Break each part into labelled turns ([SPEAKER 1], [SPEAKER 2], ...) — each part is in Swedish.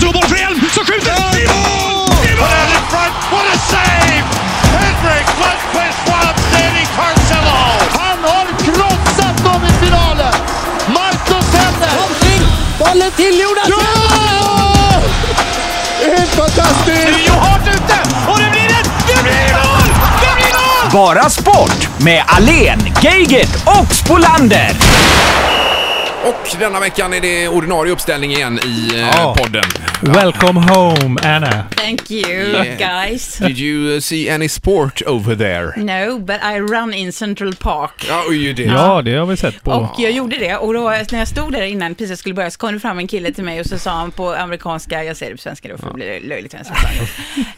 [SPEAKER 1] slår boll för Elm som skjuter! I mål! I mål!
[SPEAKER 2] Put out in front. What a save! Henrik Lundqvist outstanding Carcelo.
[SPEAKER 3] Han har krossat dem i finalen! Marcus Henner!
[SPEAKER 4] Kom till! Bollen till Jonas!
[SPEAKER 3] Ja! Helt fantastiskt!
[SPEAKER 2] Det är ju hårt ute och det blir ett... Det blir mål! Det blir mål!
[SPEAKER 5] Bara sport med Alen, Geigert och Spolander.
[SPEAKER 6] Och denna veckan är det ordinarie uppställning igen i eh,
[SPEAKER 7] Ja.
[SPEAKER 6] podden.
[SPEAKER 7] Welcome home, Anna.
[SPEAKER 8] Thank you, guys.
[SPEAKER 6] Did you eh, see any sport over there?
[SPEAKER 8] No, but I run in Central Park.
[SPEAKER 6] Ja, och ju det.
[SPEAKER 7] Ja, det har vi sett på.
[SPEAKER 8] Och jag gjorde det och då när jag stod där innan precis jag skulle börja så kom det fram en kille till mig och så sa han på amerikanska, jag säger det på svenska då för det blir löjligt vänster.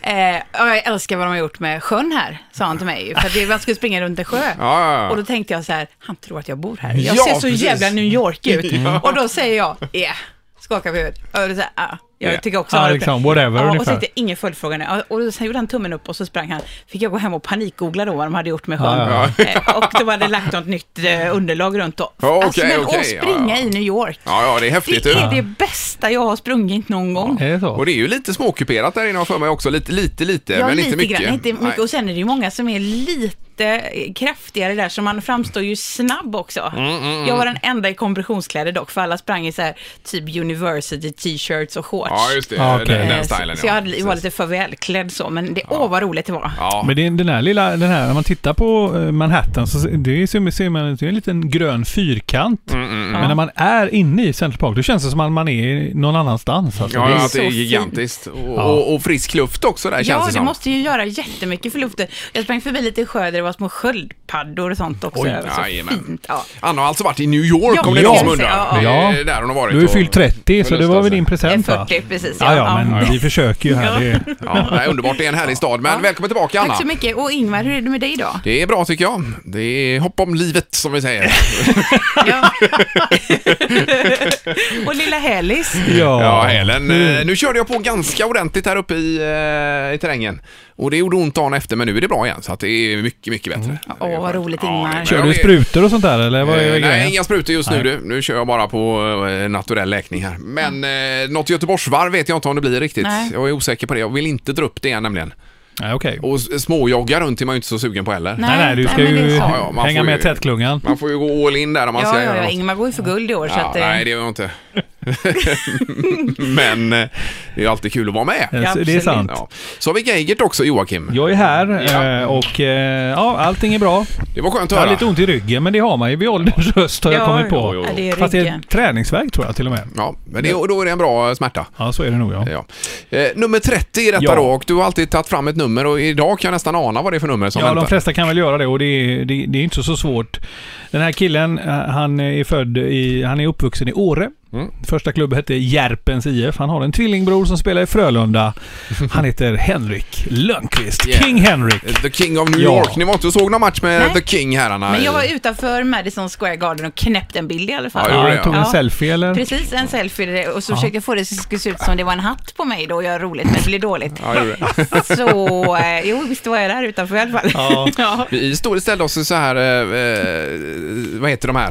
[SPEAKER 8] eh, "Ja, jag älskar vad de har gjort med sjön här, sa han till mig ju, för att det, man skulle springa runt en sjö.
[SPEAKER 6] ja, ja.
[SPEAKER 8] Och då tänkte jag så här, han tror att jag bor här. Jag
[SPEAKER 6] Ja,
[SPEAKER 8] ser så
[SPEAKER 6] precis.
[SPEAKER 8] jävla New York ut. Och då säger jag, yeah, skakar på huvudet. Och då säger jag, ah,
[SPEAKER 6] Yeah.
[SPEAKER 8] jag tycker också
[SPEAKER 7] Ja,
[SPEAKER 8] han har gjort
[SPEAKER 7] liksom,
[SPEAKER 8] det."
[SPEAKER 7] whatever
[SPEAKER 8] ja, Och
[SPEAKER 7] ungefär.
[SPEAKER 8] så tänkte jag, ingen följdfråga nu. Ja, Och sen gjorde han tummen upp och så sprang han. Fick jag gå hem och panikgoogla då vad de hade gjort med sjön.
[SPEAKER 7] Ja, ja.
[SPEAKER 8] Eh, Och de hade lagt något nytt eh, underlag runt då. Alltså,
[SPEAKER 6] Ja, okej,
[SPEAKER 8] men
[SPEAKER 6] okej,
[SPEAKER 8] att springa
[SPEAKER 6] ja, ja.
[SPEAKER 8] i New York.
[SPEAKER 6] Ja, ja, det är häftigt.
[SPEAKER 8] Det
[SPEAKER 6] du.
[SPEAKER 8] är det bästa jag har sprungit någon gång.
[SPEAKER 7] Är det så?
[SPEAKER 6] Och det är ju lite småkuperat där inne har jag för mig också. Lite, lite, lite,
[SPEAKER 8] Ja,
[SPEAKER 6] men
[SPEAKER 8] lite
[SPEAKER 6] inte mycket.
[SPEAKER 8] Grann, inte mycket.
[SPEAKER 6] Nej.
[SPEAKER 8] Och sen är det ju många som är lite eh, kraftigare där, så man framstår ju snabb också.
[SPEAKER 6] Mm,
[SPEAKER 8] Jag var den enda i kompressionskläder dock, för alla sprang i så här typ university t-shirts och shorts.
[SPEAKER 6] Ja, just det.
[SPEAKER 7] Ja, Ah, okej.
[SPEAKER 6] Den,
[SPEAKER 8] Eh,
[SPEAKER 6] den stilen,
[SPEAKER 8] så, så jag
[SPEAKER 6] ja.
[SPEAKER 8] hade, var
[SPEAKER 6] Precis.
[SPEAKER 8] lite för välklädd så, men det, åh vad roligt det var.
[SPEAKER 6] Ja.
[SPEAKER 7] Men det är den här lilla, den här, när man tittar på eh, Manhattan så se- det ser, ser man det är en liten grön fyrkant.
[SPEAKER 6] Mm,
[SPEAKER 7] Men när man är inne i Central Park, då känns det som att man är någon annanstans. Alltså.
[SPEAKER 6] Ja,
[SPEAKER 8] Det är
[SPEAKER 6] ja, att det är
[SPEAKER 8] så
[SPEAKER 6] gigantiskt. Och, och, och frisk luft också där
[SPEAKER 8] Ja,
[SPEAKER 6] känns det
[SPEAKER 8] du
[SPEAKER 6] som.
[SPEAKER 8] måste ju göra jättemycket för luften. Jag sprang förbi lite sjö där det var små sköldpaddor och sånt också.
[SPEAKER 6] Oj,
[SPEAKER 8] Det var så
[SPEAKER 6] jajamän.
[SPEAKER 8] fint. Ja.
[SPEAKER 6] Anna har alltså varit i New York
[SPEAKER 8] Ja,
[SPEAKER 6] om det är
[SPEAKER 8] ja.
[SPEAKER 6] någon som undrar.
[SPEAKER 8] Ja,
[SPEAKER 7] ja.
[SPEAKER 6] Det är där hon har varit.
[SPEAKER 7] Du är ju
[SPEAKER 6] och-
[SPEAKER 7] fyllt 30, så det var väl din present va?
[SPEAKER 8] 40 precis.
[SPEAKER 7] Ja, ja, men
[SPEAKER 8] Ja.
[SPEAKER 7] vi försöker ju här. Det är...
[SPEAKER 6] Ja, det är underbart. Det är en härlig stad. Men välkommen tillbaka Anna.
[SPEAKER 8] Tack så mycket. Och Ingvar, hur är det med dig idag?
[SPEAKER 6] Det är bra tycker jag. Det är hopp om livet som vi säger.
[SPEAKER 8] Ja. och lilla Hälis.
[SPEAKER 6] Ja, Helen. eh, Nu körde jag på ganska ordentligt här uppe i, eh, i terrängen. Och det gjorde ont dagen efter, men nu är det bra igen. Så att det är mycket, mycket bättre.
[SPEAKER 8] Åh, vad roligt, Ingmar.
[SPEAKER 6] det är-
[SPEAKER 7] Kör
[SPEAKER 6] Ja,
[SPEAKER 7] du
[SPEAKER 6] det-
[SPEAKER 7] sprutor och sånt där eller vad är
[SPEAKER 6] Eh,
[SPEAKER 7] grejen?
[SPEAKER 6] Nej, inga sprutor just nu du. Nu kör jag bara på eh, naturell läkning här. Men eh, något Göteborgsvarv vet jag inte om det blir riktigt.
[SPEAKER 8] Nej.
[SPEAKER 6] Jag är osäker på det. Jag vill inte dra upp det igen nämligen.
[SPEAKER 7] Nej, okej.
[SPEAKER 6] Och s- småjogga runt är man ju inte så sugen på heller.
[SPEAKER 7] Nej, nej, du ska
[SPEAKER 8] men det är
[SPEAKER 7] ju
[SPEAKER 8] så.
[SPEAKER 6] Ja, ja, man
[SPEAKER 7] hänga
[SPEAKER 6] får ju-
[SPEAKER 7] med tätklungan.
[SPEAKER 6] Man får ju gå all in där om man ska
[SPEAKER 8] Ja, ja,
[SPEAKER 6] göra
[SPEAKER 8] ja,
[SPEAKER 6] något.
[SPEAKER 8] Ingmar går ju för guld i år, så
[SPEAKER 6] Ja,
[SPEAKER 8] att... eh,
[SPEAKER 6] nej, det gör jag inte. Men eh, det är ju alltid kul att vara med.
[SPEAKER 7] Ja, Eh, det är
[SPEAKER 8] absolut.
[SPEAKER 7] sant.
[SPEAKER 6] Ja. Så har vi Geigert också, Joakim.
[SPEAKER 7] Jag är här
[SPEAKER 6] Ja.
[SPEAKER 7] eh, och eh, ja, allting är bra.
[SPEAKER 6] Det var skönt att
[SPEAKER 7] Jag har
[SPEAKER 6] höra.
[SPEAKER 7] lite ont i ryggen, men det har man ju vid ålderns höst har jag
[SPEAKER 8] Ja,
[SPEAKER 7] kommit på.
[SPEAKER 8] jo, jo, jo. Ja, det är
[SPEAKER 7] Fast det är
[SPEAKER 8] ryggen.
[SPEAKER 7] träningsvärk tror jag till och med.
[SPEAKER 6] Ja, men det, och då är det en bra eh, smärta.
[SPEAKER 7] Ja, så är det nog ja.
[SPEAKER 6] Ja. Eh, nummer 30 är detta
[SPEAKER 7] Ja.
[SPEAKER 6] då och du har alltid tagit fram ett nummer och idag kan jag nästan ana vad det är för nummer som
[SPEAKER 7] Ja, de
[SPEAKER 6] väntar.
[SPEAKER 7] flesta kan väl göra det och det är, det, det är inte så svårt. Den här killen, eh, han är född i, han är uppvuxen i Åre.
[SPEAKER 8] Mm.
[SPEAKER 7] Första klubb hette Järpens IF. Han har en tvillingbror som spelar i Frölunda. Han heter Henrik Lönnqvist.
[SPEAKER 6] Yeah.
[SPEAKER 7] King Henrik.
[SPEAKER 6] Eh, The King of New
[SPEAKER 7] Ja.
[SPEAKER 6] York. Ni var inte och såg någon match med
[SPEAKER 8] Nej.
[SPEAKER 6] The King herrarna?
[SPEAKER 8] Men jag var utanför Madison Square Garden och knäppte en bild i alla fall.
[SPEAKER 6] Ja, gjorde
[SPEAKER 7] Ja,
[SPEAKER 6] det,
[SPEAKER 7] han tog en
[SPEAKER 8] Ja.
[SPEAKER 7] selfie eller?
[SPEAKER 8] Precis, en selfie och så försökte jag få det att det skulle se ut som det var en hatt på mig då och göra roligt, men det blev dåligt.
[SPEAKER 6] Ja, det gjorde det.
[SPEAKER 8] Så, eh, jo visst var jag där utanför i alla fall.
[SPEAKER 7] Ja.
[SPEAKER 8] Ja.
[SPEAKER 6] Vi stod ställde oss i så här, eh, eh, vad heter de här,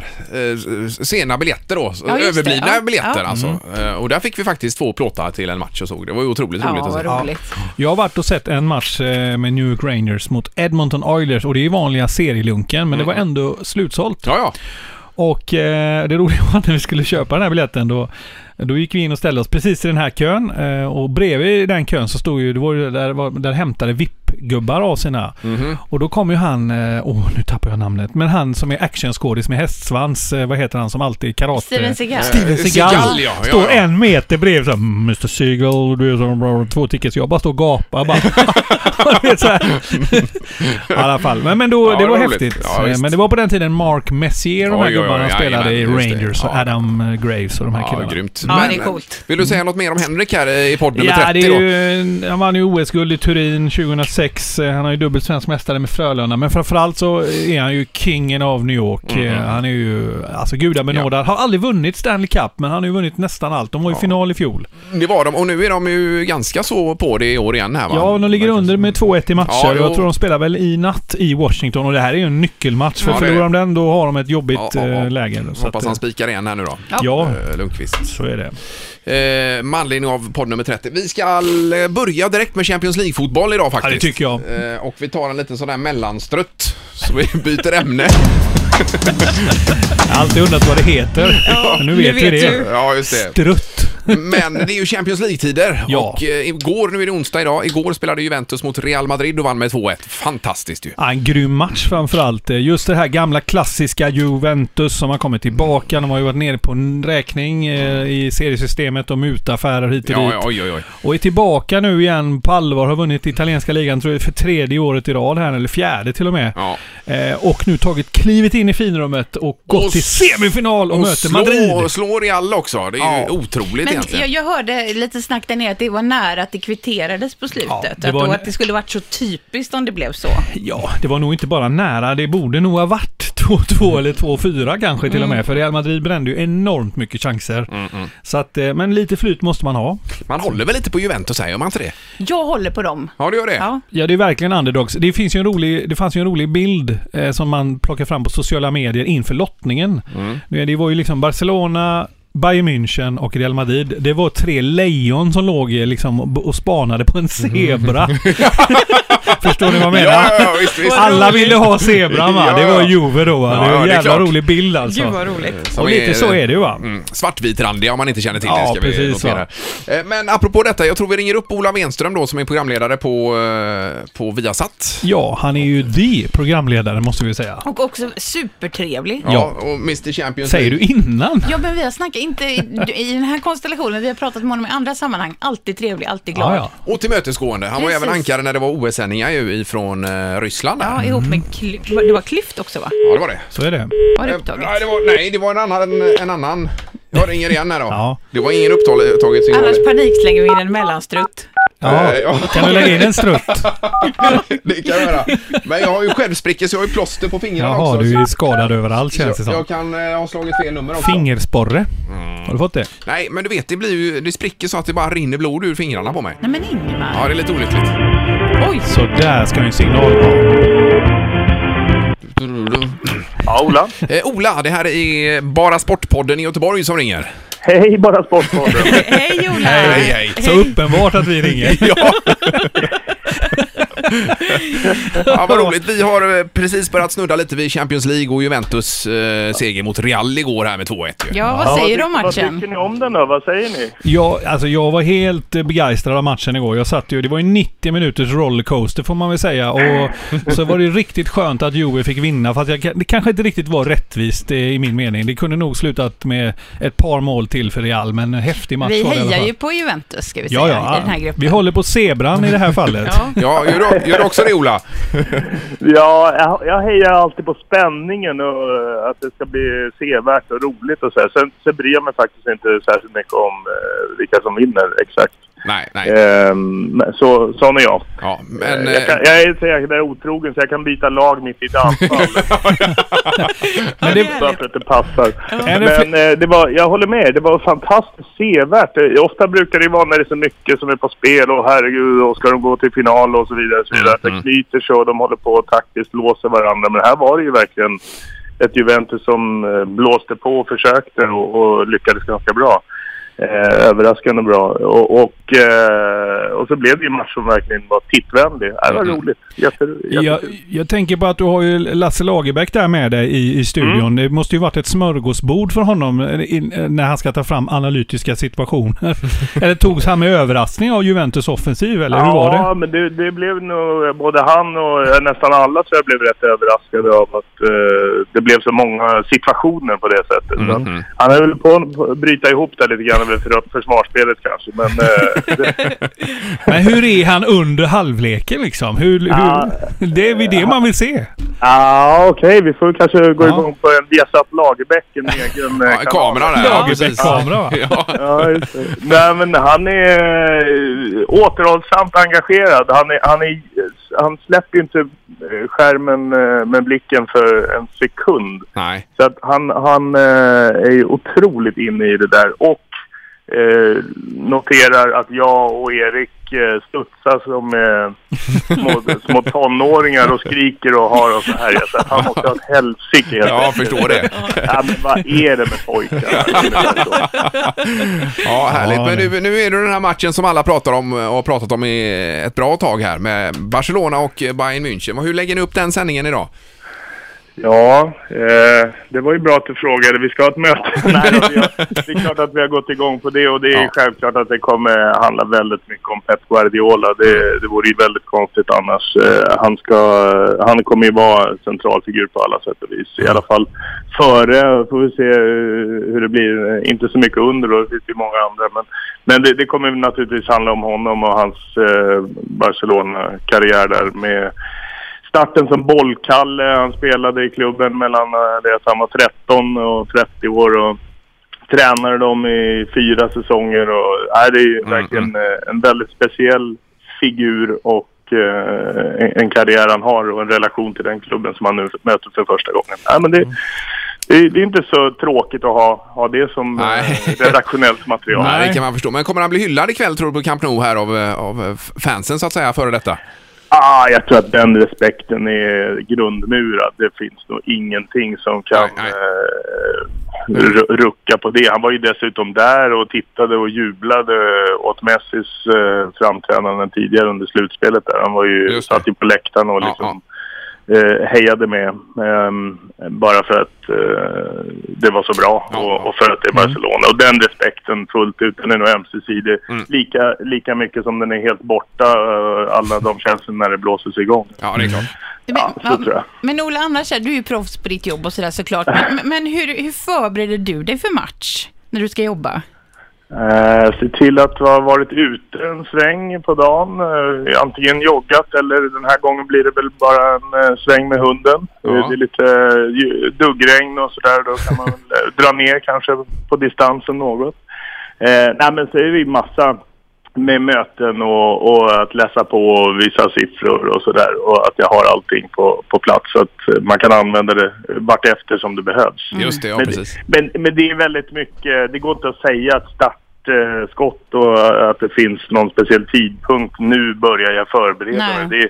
[SPEAKER 6] eh, sena biljetter då,
[SPEAKER 8] Ja, just det.
[SPEAKER 6] överblivna
[SPEAKER 8] Ja.
[SPEAKER 6] biljetter
[SPEAKER 8] Ja.
[SPEAKER 6] alltså.
[SPEAKER 7] Mm.
[SPEAKER 6] Eh, och där fick vi faktiskt två plåtar till en match och såg. Det var ju otroligt
[SPEAKER 8] Ja,
[SPEAKER 7] alltså.
[SPEAKER 6] roligt att se.
[SPEAKER 8] vad roligt.
[SPEAKER 7] Jag har varit och sett en match eh, med New York Rangers mot Edmonton Oilers och det är vanliga serielunken men det var ändå slutsålt.
[SPEAKER 6] Ja, ja.
[SPEAKER 7] Och eh, det roliga var att när vi skulle köpa den här biljetten då, då gick vi in och ställde oss precis i den här kön eh, och bredvid den kön så stod ju, det var ju där, var, där hämtade VIP-gubbar av sina.
[SPEAKER 6] Mhm.
[SPEAKER 7] Och då kom ju han, eh, åh nu tappar jag namnet, men han som är actionskådis med hästsvans, eh, vad heter han som alltid är karate... Eh,
[SPEAKER 8] Steven Seagal.
[SPEAKER 7] Steven Seagal.
[SPEAKER 6] Eh, Seagal, ja, ja,
[SPEAKER 7] står
[SPEAKER 6] ja.
[SPEAKER 7] en meter bredvid såhär, Mr Seagal, du är så bra, två tickets. Jag bara står och gapar bara. Du vet, så här. I alla fall. Men, men
[SPEAKER 6] Ja,
[SPEAKER 7] då, det
[SPEAKER 6] det
[SPEAKER 7] var
[SPEAKER 6] var roligt.
[SPEAKER 7] häftigt.
[SPEAKER 6] Ja, visst.
[SPEAKER 7] men det var på den tiden Mark Messier, de
[SPEAKER 6] Oj,
[SPEAKER 7] här
[SPEAKER 6] oj, oj,
[SPEAKER 7] gubbarna, spelade i
[SPEAKER 6] jajamän, just det.
[SPEAKER 7] Rangers. och
[SPEAKER 6] Ja.
[SPEAKER 7] Adam eh, Graves och de här
[SPEAKER 6] Ja,
[SPEAKER 7] killarna.
[SPEAKER 6] grymt.
[SPEAKER 8] Ja, det är coolt.
[SPEAKER 6] Vill du säga något mer om Henrik här eh, i podd nummer
[SPEAKER 7] ja,
[SPEAKER 6] 30
[SPEAKER 7] det
[SPEAKER 6] då?
[SPEAKER 7] är ju, en- han vann ju OS-guld i Turin 2006. Eh, Han har ju dubbel svensk mästare med Frölunda. Men framförallt så är han ju kingen av New York.
[SPEAKER 6] Mm.
[SPEAKER 7] Eh, Han är ju, alltså gudabenådad. Har aldrig vunnit Stanley Cup, men han har ju vunnit nästan allt. De var ju final i fjol.
[SPEAKER 6] Det var de och nu är de ju ganska så på det i år igen här va?
[SPEAKER 7] Ja, de ligger under med 2-1 i matcher.
[SPEAKER 6] Ja, jo.
[SPEAKER 7] jag tror de spelar väl i natt i Washington och det här är ju en nyckelmatch. För
[SPEAKER 6] Ja, det är
[SPEAKER 7] förlorar de
[SPEAKER 6] det.
[SPEAKER 7] den, då har de ett jobbigt
[SPEAKER 6] Ja, ja, ja.
[SPEAKER 7] eh, läge.
[SPEAKER 6] Hoppas
[SPEAKER 7] Så att, eh,
[SPEAKER 6] han spikar igen här nu då.
[SPEAKER 7] Ja,
[SPEAKER 6] Eh, Lundqvist.
[SPEAKER 7] så är är det.
[SPEAKER 6] Eh, med anledning av podd nummer 30. Vi ska eh, börja direkt med Champions League-fotboll idag faktiskt.
[SPEAKER 7] Ja, det tycker
[SPEAKER 6] Eh, och vi tar en liten sån där mellanstrutt. Så vi byter ämne.
[SPEAKER 7] Jag har alltid undrat vad det heter.
[SPEAKER 8] Ja,
[SPEAKER 7] Men nu vet vi det.
[SPEAKER 8] du.
[SPEAKER 6] Ja, just det.
[SPEAKER 7] Strutt.
[SPEAKER 6] Men det är ju Champions League-tider.
[SPEAKER 7] Ja.
[SPEAKER 6] Och eh, igår, nu är det onsdag idag, igår spelade Juventus mot Real Madrid och vann med 2-1. Fantastiskt ju.
[SPEAKER 7] Ja, en grym match framförallt. Just det här gamla klassiska Juventus som har kommit tillbaka. De har ju varit nere på en räkning eh, i seriesystemet och mutaffärer hit och dit.
[SPEAKER 6] Ja, ja, oj, oj, oj.
[SPEAKER 7] Och är tillbaka nu igen på allvar. Har vunnit italienska ligan tror jag, för tredje året i rad här, eller fjärde till och med.
[SPEAKER 6] Ja.
[SPEAKER 7] Eh, och nu tagit klivet in i finrummet och gått
[SPEAKER 6] Och
[SPEAKER 7] till
[SPEAKER 6] s-
[SPEAKER 7] semifinal och, möter Madrid.
[SPEAKER 6] slår, slår Real också. Det är ju otroligt
[SPEAKER 8] Men
[SPEAKER 6] egentligen.
[SPEAKER 8] jag, jag hörde lite snack där nere att det var nära att det kvitterades på slutet.
[SPEAKER 7] Ja, det
[SPEAKER 8] att,
[SPEAKER 7] var
[SPEAKER 8] då,
[SPEAKER 7] en-
[SPEAKER 8] att det skulle varit så typiskt om det blev så.
[SPEAKER 7] Ja, det var nog inte bara nära. Det borde nog ha varit 2-2 eller 2-4 kanske till och
[SPEAKER 6] Mm.
[SPEAKER 7] med. För Real Madrid brände ju enormt mycket chanser. Så att, eh, men lite flyt måste man ha.
[SPEAKER 6] Man håller väl lite på Juventus här, gör man inte det?
[SPEAKER 8] Jag håller på dem.
[SPEAKER 6] Ja, du gör det?
[SPEAKER 8] Ja.
[SPEAKER 7] Ja, det är verkligen underdogs. Det, finns ju en rolig, det fanns ju en rolig bild eh, som man plockar fram på sociala medier inför lottningen.
[SPEAKER 6] Mm.
[SPEAKER 7] Det, det var ju liksom Barcelona, Bayern München och Real Madrid. Det var tre lejon som låg eh, liksom, och- och spanade på en zebra. Förstår ni vad jag menar?
[SPEAKER 6] Mm. Ja, ja, ja, visst, visst.
[SPEAKER 7] Alla ville ha zebran va?
[SPEAKER 6] Ja,
[SPEAKER 7] Det var
[SPEAKER 6] ja.
[SPEAKER 7] Juve då va?
[SPEAKER 6] Ja,
[SPEAKER 7] Det
[SPEAKER 6] ja,
[SPEAKER 7] var
[SPEAKER 6] det är
[SPEAKER 7] en jävla
[SPEAKER 6] klart.
[SPEAKER 7] rolig bild alltså.
[SPEAKER 8] Gud vad roligt.
[SPEAKER 6] Som
[SPEAKER 7] Och lite så är det ju va?
[SPEAKER 6] Mm, svartvitrandiga om man inte känner till det
[SPEAKER 7] Ja,
[SPEAKER 6] ska
[SPEAKER 7] precis,
[SPEAKER 6] vi notera. Eh, Men apropå detta, jag tror vi ringer upp Ola Wenström då som är programledare på, eh, på Viasat.
[SPEAKER 7] Ja, han är ju the programledare måste vi säga.
[SPEAKER 8] Och också supertrevlig.
[SPEAKER 6] Ja,
[SPEAKER 7] Ja.
[SPEAKER 6] och Mr Champions
[SPEAKER 7] Säger du
[SPEAKER 6] League.
[SPEAKER 7] innan?
[SPEAKER 8] Ja, men vi har snackat, inte i, i den här konstellationen, vi har pratat med honom i andra sammanhang. Alltid trevlig, alltid glad.
[SPEAKER 7] Ja,
[SPEAKER 8] Ja,
[SPEAKER 7] ja.
[SPEAKER 6] Och tillmötesgående. Han var ju
[SPEAKER 8] Precis.
[SPEAKER 6] även ankare när det var OS-sändningar ju ifrån eh, Ryssland. där.
[SPEAKER 8] ihop med Kly- det var Klyft också va?
[SPEAKER 6] Ja, det var det.
[SPEAKER 7] Så är det.
[SPEAKER 8] Var det
[SPEAKER 6] Eh,
[SPEAKER 8] upptaget?
[SPEAKER 6] Nej, det var, nej, det var en annan. En annan. Jag ringer igen här då.
[SPEAKER 7] Ja.
[SPEAKER 6] Det var ingen upptaget upptaget signal.
[SPEAKER 8] Annars panikslänger vi in en mellanstrutt.
[SPEAKER 7] Ja.
[SPEAKER 6] Eh, ja.
[SPEAKER 7] Kan du lägga in en strutt?
[SPEAKER 6] Det kan jag göra. Men jag har ju självsprickor så jag har ju plåster på fingrarna
[SPEAKER 7] Jaha,
[SPEAKER 6] också.
[SPEAKER 7] du är skadad överallt känns det
[SPEAKER 6] jag, Mm.
[SPEAKER 7] som.
[SPEAKER 6] jag kan eh, ha slagit fel nummer också.
[SPEAKER 7] Fingersporre. Har du fått det?
[SPEAKER 6] Nej, men du vet, det, blir ju, det spricker så att det bara rinner blod ur fingrarna på mig.
[SPEAKER 8] Nej men Ingmar.
[SPEAKER 6] Ja, det är lite olyckligt.
[SPEAKER 8] Oj!
[SPEAKER 7] Så där ska ju en signal vara.
[SPEAKER 9] Ja, Ola.
[SPEAKER 6] Eh, Ola, det här är Bara Sportpodden i Göteborg som ringer.
[SPEAKER 9] Hej, bara Sportpodden.
[SPEAKER 8] Hej Ola!
[SPEAKER 6] Hej, hej.
[SPEAKER 7] Så uppenbart att vi ringer.
[SPEAKER 6] Ja. ja, vad roligt. Vi har eh, precis börjat snudda lite vid Champions League och Juventus eh, seger mot Real igår här med 2-1 ju.
[SPEAKER 8] Ja, vad säger du om
[SPEAKER 9] Vad tycker
[SPEAKER 8] matchen?
[SPEAKER 9] ni om den då? Vad säger ni?
[SPEAKER 7] Ja, alltså jag var helt eh, begeistrad av matchen igår. Jag satt ju, det var ju 90 minuters rollercoaster får man väl säga. Och så var det ju riktigt skönt att Juve fick vinna. Fast jag, kan- det kanske inte riktigt var rättvist eh, i min mening. Det kunde nog slutat med ett par mål till för Real, men en häftig match
[SPEAKER 8] Vi
[SPEAKER 7] var det i alla
[SPEAKER 8] hejar
[SPEAKER 7] fall.
[SPEAKER 8] ju på Juventus ska vi säga
[SPEAKER 7] ja,
[SPEAKER 8] i den här
[SPEAKER 7] ja.
[SPEAKER 8] gruppen.
[SPEAKER 7] Vi håller på zebran i det här fallet.
[SPEAKER 8] ja.
[SPEAKER 6] Ja, gör du, gör du också det Ola?
[SPEAKER 9] Ja, jag, jag hejar alltid på spänningen och eh, att det ska bli sevärt och roligt och så här. Sen, sen bryr jag mig faktiskt inte särskilt mycket om eh, vilka som vinner exakt.
[SPEAKER 6] Nej, nej.
[SPEAKER 9] Ehm, men så, sån är jag.
[SPEAKER 6] Ja, men...
[SPEAKER 9] Eh, jag,
[SPEAKER 6] eh,
[SPEAKER 9] kan, jag är så jäkla otrogen så jag kan byta lag mitt i ett anfall
[SPEAKER 7] Men det,
[SPEAKER 9] så att det inte passar.
[SPEAKER 7] Är det
[SPEAKER 9] Men eh, det var, jag håller med, det var fantastiskt sevärt. Eh, Ofta brukar det vara när det är så mycket som är på spel och herregud, och ska de gå till final och så vidare. Och så vidare.
[SPEAKER 7] Mm.
[SPEAKER 9] Att Det knyter sig och de håller på och taktiskt låser varandra. Men här var det ju verkligen ett Juventus som eh, blåste på och försökte och, och lyckades ganska bra. Eh, överraskande bra. Och, och, eh, och så blev det ju en match som verkligen var tittvänlig. Eh, Det var
[SPEAKER 6] Mm.
[SPEAKER 9] roligt. Jätte, jättekul.
[SPEAKER 7] Jag, jag tänker på att du har ju Lasse Lagerbäck där med dig i, i studion.
[SPEAKER 9] Mm.
[SPEAKER 7] Det måste ju varit ett smörgåsbord för honom eh, i- när han ska ta fram analytiska situationer. eller togs han med överraskning av Juventus offensiv, eller hur var det?
[SPEAKER 9] Ja, men det, det blev nog både han och eh, nästan alla tror jag blev rätt överraskade av att eh, det blev så många situationer på det sättet.
[SPEAKER 7] Mm-hmm.
[SPEAKER 9] Så han- Han höll väl på att- på att bryta ihop där lite grann över för, försvarsspelet kanske. Men eh, det,
[SPEAKER 7] Men hur är han under halvleken liksom? Hur,
[SPEAKER 9] Ja.
[SPEAKER 7] hur, det är väl det man vill se.
[SPEAKER 9] ah, okej, vi får kanske gå
[SPEAKER 7] Ja.
[SPEAKER 9] igång på en Viasat Lagerbäck, en egen eh,
[SPEAKER 6] Ja, kameran där. Ja, precis.
[SPEAKER 7] Lagerbäck-kamera va?
[SPEAKER 6] Ja,
[SPEAKER 9] Ja, just det. Nej, men han är eh, återhållsamt engagerad. Han, är, han, är, han släpper ju inte eh, skärmen eh, med blicken för en sekund.
[SPEAKER 6] nej.
[SPEAKER 9] Så att han, han eh, är ju otroligt inne i det där och eh, noterar att jag och Erik eh, studsar som eh, små, små tonåringar och skriker och har och så här. Jag säger, Han måste ha ett helsike helt
[SPEAKER 6] Ja, jag
[SPEAKER 9] enkelt.
[SPEAKER 6] förstår det.
[SPEAKER 9] Ja, men vad är det med pojkar?
[SPEAKER 6] Ja, härligt.
[SPEAKER 7] Ja,
[SPEAKER 6] Men
[SPEAKER 7] det-
[SPEAKER 6] nu, nu är det den här matchen som alla pratar om eh, och har pratat om i ett bra tag här med Barcelona och Bayern München. Hur lägger ni upp den sändningen idag?
[SPEAKER 9] Ja, eh, det var ju bra att du frågade. Vi ska ha ett möte. Nej, då, vi har, det är klart att vi har gått igång på det och det är
[SPEAKER 6] Ja.
[SPEAKER 9] självklart att det kommer handla väldigt mycket om Pep Guardiola. Det, det vore ju väldigt konstigt annars. Eh, han, ska, han kommer ju vara centralfigur på alla sätt och vis. I alla fall före, får vi se eh, hur det blir. Eh, Inte så mycket under då, det finns ju många andra. Men, men det, det kommer naturligtvis handla om honom och hans eh, Barcelona-karriär där med starten som bollkalle. Han spelade i klubben mellan eh, det att han var 13 och 30 år och tränade dem i fyra säsonger. Och, nej, det är ju
[SPEAKER 6] Mm,
[SPEAKER 9] verkligen eh, en väldigt speciell figur och eh, en- en karriär han har och en relation till den klubben som han nu möter för första gången. Nej, men
[SPEAKER 6] Mm.
[SPEAKER 9] det, det, det är inte så tråkigt att ha, ha det som eh,
[SPEAKER 6] Nej.
[SPEAKER 9] redaktionellt material.
[SPEAKER 6] Nej. Det kan man förstå. Men kommer han bli hyllad ikväll tror du på Camp Nou här av, eh, av eh, fansen så att säga före detta?
[SPEAKER 9] Ah, jag tror att den respekten är grundmurad. Det finns nog ingenting som kan
[SPEAKER 6] Nej, nej.
[SPEAKER 9] eh, ru- rucka på det. Han var ju dessutom där och tittade och jublade åt Messis eh, framträdanden tidigare under slutspelet. Där. Han var ju,
[SPEAKER 6] Just det.
[SPEAKER 9] satt ju på läktaren och
[SPEAKER 6] Ja,
[SPEAKER 9] liksom, Eh, hejade med. ehm, bara för att eh, det var så bra
[SPEAKER 6] Ja, Mm. ja.
[SPEAKER 9] och, och för att det är Barcelona. Och den respekten fullt ut, den är nog ömsesidig.
[SPEAKER 6] Mm.
[SPEAKER 9] Lika, lika mycket som den är helt borta, eh, alla de känslorna när det blåses igång.
[SPEAKER 6] Ja, det är klart.
[SPEAKER 8] Men,
[SPEAKER 9] Ja, så tror jag.
[SPEAKER 8] men Ola, annars är du är ju proffs på ditt jobb och sådär såklart. Men, men hur, hur förbereder du dig för match när du ska jobba?
[SPEAKER 9] Eh, se till att ha varit ute en sväng på dagen. Eh, antingen joggat eller den här gången blir det väl bara en eh, sväng med hunden.
[SPEAKER 6] Ja.
[SPEAKER 9] Eh, Det är lite eh, ju- duggregn och sådär. Då kan man väl, eh, dra ner kanske på distansen något. Eh, nej men så är vi massa med möten och, och att läsa på och visa siffror och sådär. Och att jag har allting på, på plats så att eh, man kan använda det vartefter som det behövs.
[SPEAKER 6] Just det, ja
[SPEAKER 9] Men-
[SPEAKER 6] precis.
[SPEAKER 9] Men, men det är väldigt mycket, det går inte att säga att startskott och att det finns någon speciell tidpunkt. Nu börjar jag förbereda
[SPEAKER 8] Nej.
[SPEAKER 9] mig. Det, är-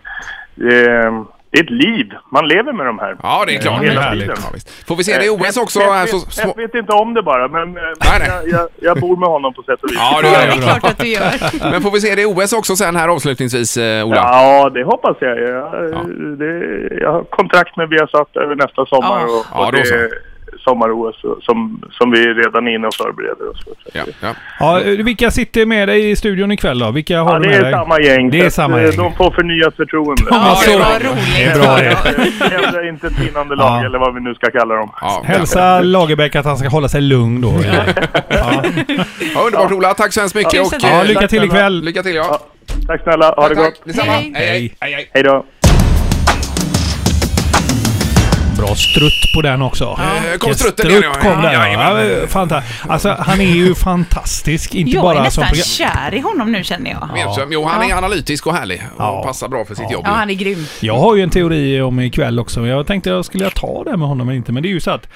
[SPEAKER 9] det, är- det är ett liv. Man lever med de här.
[SPEAKER 6] Ja, det är klart.
[SPEAKER 9] Hela
[SPEAKER 6] Ja,
[SPEAKER 9] tiden.
[SPEAKER 6] härligt. Ja, visst. Får vi se det i OS
[SPEAKER 8] Eh,
[SPEAKER 6] också? Alltså,
[SPEAKER 9] Jag,
[SPEAKER 6] här
[SPEAKER 9] vet-
[SPEAKER 6] så
[SPEAKER 9] jag
[SPEAKER 6] små...
[SPEAKER 9] vet inte om det bara, men, men
[SPEAKER 6] Nej, nej.
[SPEAKER 9] Jag, jag, jag bor med honom på sätt och vis.
[SPEAKER 6] Ja, det
[SPEAKER 8] Ja,
[SPEAKER 6] gör
[SPEAKER 8] eh, det är
[SPEAKER 6] jag.
[SPEAKER 8] klart att du gör.
[SPEAKER 6] Men får vi se det i OS också sen här avslutningsvis, eh, Ola?
[SPEAKER 9] Ja, det hoppas jag. Jag, eh, det, jag har kontrakt med Viasat över nästa sommar
[SPEAKER 8] Ja.
[SPEAKER 9] och, och
[SPEAKER 6] Ja, då
[SPEAKER 9] det
[SPEAKER 6] så.
[SPEAKER 9] är sommar-OS som, som vi redan är inne och förbereder oss för.
[SPEAKER 6] Ja, ja.
[SPEAKER 7] Ja, vilka sitter med dig i studion ikväll då? Vilka har
[SPEAKER 9] Ja,
[SPEAKER 7] du
[SPEAKER 9] det
[SPEAKER 7] med
[SPEAKER 9] är
[SPEAKER 7] dig?
[SPEAKER 9] samma gäng.
[SPEAKER 7] Det
[SPEAKER 9] så
[SPEAKER 7] är
[SPEAKER 9] att,
[SPEAKER 7] samma
[SPEAKER 9] eh,
[SPEAKER 7] gäng.
[SPEAKER 9] De får förnyat förtroende.
[SPEAKER 7] Ja,
[SPEAKER 8] det var
[SPEAKER 7] så.
[SPEAKER 8] roligt.
[SPEAKER 7] Det är bra det.
[SPEAKER 9] Ändra inte ett vinnande lag
[SPEAKER 7] Ja.
[SPEAKER 9] eller vad vi nu ska kalla dem.
[SPEAKER 6] Ja,
[SPEAKER 7] Hälsa Lagerbäck att han ska hålla sig lugn då.
[SPEAKER 6] Ja, underbart Ola, tack så hemskt mycket.
[SPEAKER 8] Tusen
[SPEAKER 6] Och,
[SPEAKER 8] tack.
[SPEAKER 7] Ja,
[SPEAKER 6] eh,
[SPEAKER 7] lycka till ikväll.
[SPEAKER 6] lycka till ja.
[SPEAKER 9] Tack snälla, ha det
[SPEAKER 6] Tack,
[SPEAKER 9] gott.
[SPEAKER 6] detsamma.
[SPEAKER 8] Hej,
[SPEAKER 6] hej. hej.
[SPEAKER 9] Hej då.
[SPEAKER 7] Bra strutt på den också.
[SPEAKER 6] Eh, kom
[SPEAKER 7] Vilken
[SPEAKER 6] strutten igen, ja.
[SPEAKER 7] kom den.
[SPEAKER 6] Jajamän.
[SPEAKER 7] Ja, eh, fanta- alltså, han är ju fantastisk. Inte
[SPEAKER 8] Jag är
[SPEAKER 7] bara som
[SPEAKER 8] nästan
[SPEAKER 7] program...
[SPEAKER 8] kär i honom nu känner jag.
[SPEAKER 6] Edström, jo han är analytisk och härlig och
[SPEAKER 7] Ja.
[SPEAKER 6] passar bra för sitt jobb.
[SPEAKER 8] Ja, han är grym.
[SPEAKER 7] Jag har ju en teori om ikväll också. Jag tänkte jag skulle jag ta det här med honom eller inte. Men det är ju så att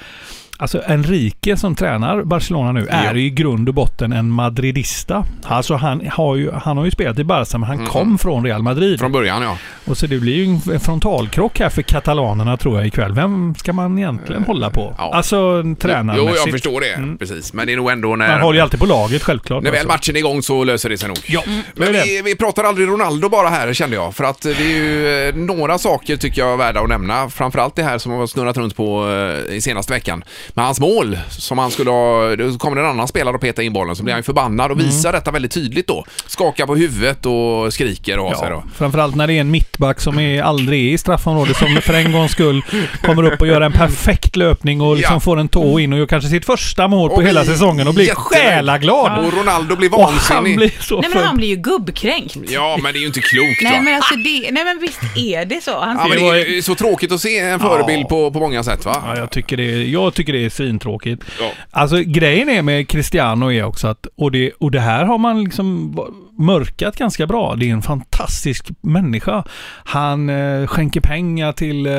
[SPEAKER 7] Alltså Enrique som tränar Barcelona nu är ju i grund och botten en madridista. Alltså han har ju, han har ju spelat i Barca men han kom från Real Madrid.
[SPEAKER 6] Mm. Från början ja.
[SPEAKER 7] Och så det blir ju en frontalkrock här för katalanerna tror jag ikväll. Vem ska man egentligen hålla på?
[SPEAKER 6] Eh, ja.
[SPEAKER 7] Alltså
[SPEAKER 6] Jo,
[SPEAKER 7] tränarmässigt. Mm.
[SPEAKER 6] jag förstår det. Precis. Men det är nog ändå
[SPEAKER 7] Man
[SPEAKER 6] när...
[SPEAKER 7] håller ju alltid på laget självklart.
[SPEAKER 6] När väl
[SPEAKER 7] alltså.
[SPEAKER 6] matchen är igång så löser det sig nog. Mm.
[SPEAKER 7] Ja,
[SPEAKER 6] Men
[SPEAKER 7] det är
[SPEAKER 6] vi, vi pratar aldrig Ronaldo bara här kände jag. För att det är ju eh, några saker tycker jag är värda att nämna. Framförallt det här som har snurrat runt på eh, i senaste veckan. Med hans mål som han skulle ha... Då kommer en annan spelare och peta in bollen så blir han ju förbannad
[SPEAKER 7] Mm.
[SPEAKER 6] och visar detta väldigt tydligt då. Skakar på huvudet och skriker och har sig
[SPEAKER 7] Ja,
[SPEAKER 6] då.
[SPEAKER 7] framförallt när det är en mittback som är aldrig är i straffområdet som för en gångs skull kommer upp och gör en perfekt löpning och liksom
[SPEAKER 6] Ja.
[SPEAKER 7] får en tå in och gör kanske sitt första mål på
[SPEAKER 6] Och
[SPEAKER 7] hela
[SPEAKER 6] blir
[SPEAKER 7] säsongen och blir
[SPEAKER 6] jättenöjd.
[SPEAKER 7] själaglad.
[SPEAKER 6] Och Ronaldo blir
[SPEAKER 7] Och han
[SPEAKER 6] vansinnig.
[SPEAKER 7] blir så
[SPEAKER 8] Nej, men han
[SPEAKER 7] full.
[SPEAKER 8] blir ju gubbkränkt.
[SPEAKER 6] Ja, men det är ju inte klokt va?
[SPEAKER 8] Nej, men alltså det, nej, men visst är det så. Han
[SPEAKER 6] Ja,
[SPEAKER 8] ser
[SPEAKER 6] men det är ju så tråkigt att se en förebild på, på många sätt va?
[SPEAKER 7] Ja, jag, tycker det är, jag tycker det är svintråkigt.
[SPEAKER 6] Ja.
[SPEAKER 7] Alltså grejen är med Cristiano är också att, och det, och det här har man liksom va- mörkat ganska bra. Det är en fantastisk människa. Han eh, skänker pengar till eh,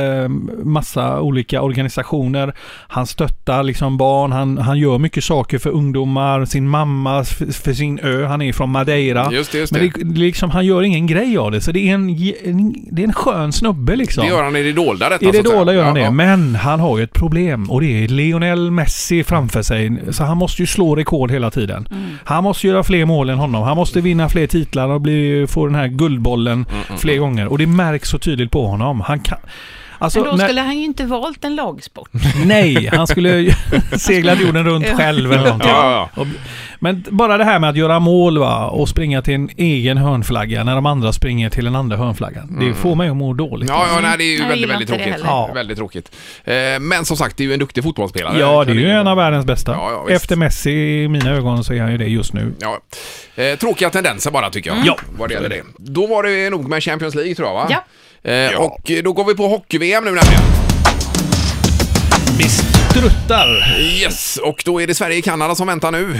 [SPEAKER 7] massa olika organisationer organisationer. Han stöttar liksom barn. Han, han gör mycket saker för ungdomar, sin mamma, f- för sin ö. Han är från Madeira.
[SPEAKER 6] Just det, just
[SPEAKER 7] Men
[SPEAKER 6] det.
[SPEAKER 7] det, det är liksom, han gör ingen grej av det. Så det är en, ge- en, det är en skön snubbe liksom.
[SPEAKER 6] Det gör han i Alltså, det dolda detta.
[SPEAKER 7] I det
[SPEAKER 6] så att säga.
[SPEAKER 7] dolda gör han
[SPEAKER 6] Ja,
[SPEAKER 7] det,
[SPEAKER 6] ja.
[SPEAKER 7] men han har ju ett problem och det är Lionel Messi framför sig. Så han måste ju slå rekord hela tiden.
[SPEAKER 8] Mm.
[SPEAKER 7] Han måste göra fler mål än honom. Han måste vinna fler titlar och bli, få den här guldbollen
[SPEAKER 6] Mm,
[SPEAKER 7] fler gånger. Och det märks så tydligt på honom. Han kan... Alltså,
[SPEAKER 8] Men då
[SPEAKER 7] när-
[SPEAKER 8] skulle han ju inte valt en lagsport.
[SPEAKER 7] Nej, han skulle segla jorden runt
[SPEAKER 8] Ja.
[SPEAKER 7] själv eller någonting.
[SPEAKER 6] Ja, ja,
[SPEAKER 7] Och- Men bara det här med att göra mål va, och springa till en egen hörnflagga när de andra springer till den andra hörnflaggan. Det får mig att må dåligt.
[SPEAKER 6] Mm. Ja, ja, nej, det är ju
[SPEAKER 8] Jag
[SPEAKER 6] väldigt,
[SPEAKER 8] gillar
[SPEAKER 6] väldigt
[SPEAKER 8] inte det
[SPEAKER 6] tråkigt.
[SPEAKER 8] heller.
[SPEAKER 7] Ja.
[SPEAKER 6] Väldigt tråkigt. Eh, Men som sagt, det är ju en duktig fotbollsspelare.
[SPEAKER 7] Ja, det är ju en av världens bästa.
[SPEAKER 6] Ja, ja, visst.
[SPEAKER 7] Efter Messi i mina ögon så är han ju det just nu.
[SPEAKER 6] Ja. Eh, tråkiga tendenser bara tycker jag.
[SPEAKER 7] Ja.
[SPEAKER 6] Vad det gäller det. Då var det nog med Champions League tror jag va?
[SPEAKER 8] Mm. Ja.
[SPEAKER 6] Eh, Och då går vi på hockey-VM nu nämligen.
[SPEAKER 7] Vi struttar.
[SPEAKER 6] Yes, och då är det Sverige-Kanada som väntar nu.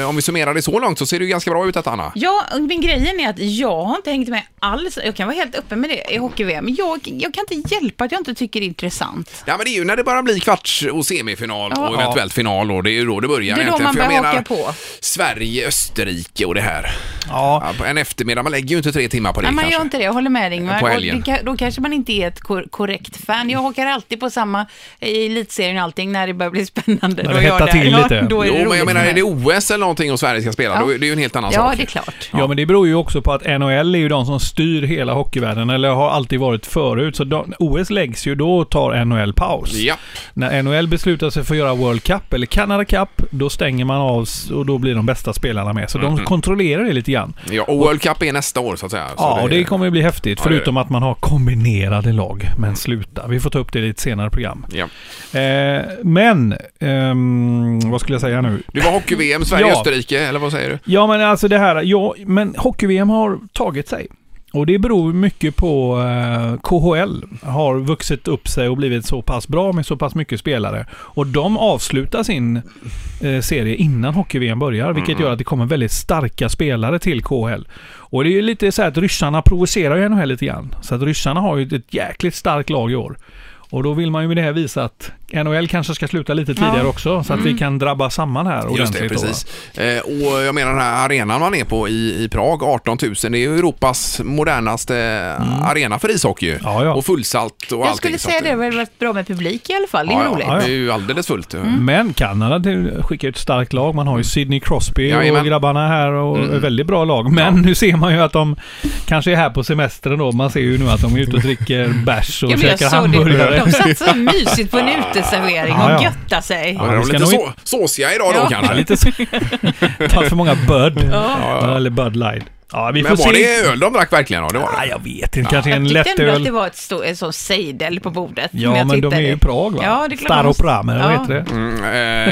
[SPEAKER 6] Eh, om vi summerar det så långt så ser det ju ganska bra ut detta Anna.
[SPEAKER 8] Ja, men grejen är att jag har inte hängt med alls. Jag kan vara helt öppen med det i hockey-VM. Jag, jag kan inte hjälpa att jag inte tycker det är intressant.
[SPEAKER 6] Ja men det är ju när det bara blir kvarts och semifinal
[SPEAKER 8] Ja.
[SPEAKER 6] och eventuellt final och det är ju då det börjar
[SPEAKER 8] Det är då
[SPEAKER 6] egentligen.
[SPEAKER 8] man
[SPEAKER 6] För jag
[SPEAKER 8] börjar
[SPEAKER 6] menar,
[SPEAKER 8] haka på.
[SPEAKER 6] Sverige, Österrike och det här.
[SPEAKER 7] Ja,
[SPEAKER 6] Ja, på en eftermiddag, man lägger ju inte tre timmar på det
[SPEAKER 8] Nej, man
[SPEAKER 6] kanske.
[SPEAKER 8] gör inte det. Jag håller med Ingvar.
[SPEAKER 6] På
[SPEAKER 8] Och
[SPEAKER 6] helgen.
[SPEAKER 8] det, ka- då kanske man inte är ett kor- korrekt fan. Jag hakar alltid på samma i elitserien och allting när det börjar bli spännande.
[SPEAKER 7] När
[SPEAKER 8] Då
[SPEAKER 7] det
[SPEAKER 8] gör
[SPEAKER 7] hettar till
[SPEAKER 8] ja,
[SPEAKER 7] lite.
[SPEAKER 8] Då är det
[SPEAKER 6] Jo men jag
[SPEAKER 8] roligt
[SPEAKER 6] menar
[SPEAKER 8] för
[SPEAKER 6] är det
[SPEAKER 8] mig.
[SPEAKER 6] OS eller någonting och Sverige ska spela,
[SPEAKER 8] Ja.
[SPEAKER 6] då är det är ju en helt annan
[SPEAKER 8] Ja,
[SPEAKER 6] sak.
[SPEAKER 8] det är klart.
[SPEAKER 7] ja, men det beror ju också på att NHL är ju de som styr hela hockeyvärlden, eller har alltid varit förut. Så de, OS läggs ju, då tar NHL paus.
[SPEAKER 6] Ja,
[SPEAKER 7] När NHL beslutar sig för att göra World Cup eller Canada Cup, då stänger man av s- och då blir de bästa spelarna med. Så
[SPEAKER 6] Mm-hmm.
[SPEAKER 7] de kontrollerar det lite grann.
[SPEAKER 6] ja, och World Cup är nästa år så att säga. Så
[SPEAKER 7] Ja, och det kommer ju bli häftigt.
[SPEAKER 6] det är det.
[SPEAKER 7] förutom att man har kombinerade lag. Men sluta, vi får ta upp det i ett senare program.
[SPEAKER 6] Ja.
[SPEAKER 7] Eh, men, ehm, vad skulle jag säga nu?
[SPEAKER 6] Det var hockey-VM, Sverige-Österrike, eller vad säger du?
[SPEAKER 7] Ja, men alltså det här. Ja, men hockey-VM har tagit sig. Och det beror mycket på eh, KHL har vuxit upp sig och blivit så pass bra med så pass mycket spelare. Och de avslutar sin eh, serie innan hockey-VM börjar, vilket
[SPEAKER 6] Mm.
[SPEAKER 7] gör att det kommer väldigt starka spelare till KHL. Och det är ju lite så här att ryssarna provocerar ju NHL lite grann. Så att ryssarna har ju ett jäkligt starkt lag i år. Och då vill man ju med det här visa att NHL kanske ska sluta lite tidigare också, så att vi kan drabba samman här ordentligt.
[SPEAKER 6] Mm. Just det,
[SPEAKER 7] då, va?
[SPEAKER 6] precis. Eh, och jag menar den här arenan man är på i, i Prag, 18 000, det är ju Europas modernaste eh, arena för ishockey.
[SPEAKER 7] Mm. Ja, ja.
[SPEAKER 6] Och fullsatt och
[SPEAKER 8] Jag
[SPEAKER 6] allting.
[SPEAKER 8] skulle
[SPEAKER 6] så att
[SPEAKER 8] säga det, det hade varit bra med publik i alla fall. Det är
[SPEAKER 6] Ja,
[SPEAKER 8] ju
[SPEAKER 6] ja,
[SPEAKER 8] roligt. Mm.
[SPEAKER 6] det är ju alldeles fullt.
[SPEAKER 7] Men Kanada det skickar ju ett starkt lag. Man har ju Sidney Crosby
[SPEAKER 6] Mm. Jajamän. Mm.
[SPEAKER 7] och grabbarna här och ett väldigt bra lag. Men nu ser man ju att de kanske är här på semestern då. Man ser ju nu att de är ute och dricker bärs och
[SPEAKER 8] Ja, men jag
[SPEAKER 7] käkar
[SPEAKER 8] såg det.
[SPEAKER 7] hamburgare.
[SPEAKER 8] De satt så mysigt på en uteservering
[SPEAKER 7] Ja,
[SPEAKER 8] och
[SPEAKER 7] ja.
[SPEAKER 8] göttade sig.
[SPEAKER 6] Ja, de
[SPEAKER 7] vi
[SPEAKER 6] är
[SPEAKER 7] ska
[SPEAKER 6] lite
[SPEAKER 7] nog
[SPEAKER 6] så, såsiga idag då
[SPEAKER 8] Ja.
[SPEAKER 6] kanske.
[SPEAKER 7] Lite så... Tagit för många Bud. Eller Bud Light. Ja, vi
[SPEAKER 6] Men
[SPEAKER 7] får
[SPEAKER 6] var
[SPEAKER 7] se.
[SPEAKER 6] det öl de drack verkligen? Ja, det var
[SPEAKER 7] Ja,
[SPEAKER 6] det.
[SPEAKER 7] jag vet inte. Kanske en
[SPEAKER 8] Jag tyckte ändå att det
[SPEAKER 7] lättöl.
[SPEAKER 8] var ett stor, en sån sejdel på bordet. när
[SPEAKER 7] Ja,
[SPEAKER 8] jag
[SPEAKER 7] men de är
[SPEAKER 8] tittade.
[SPEAKER 7] ju i Prag va?
[SPEAKER 8] Ja, det är klart.
[SPEAKER 7] Staropramen, eller vad
[SPEAKER 8] Ja.
[SPEAKER 7] heter det?
[SPEAKER 6] Mm, eh,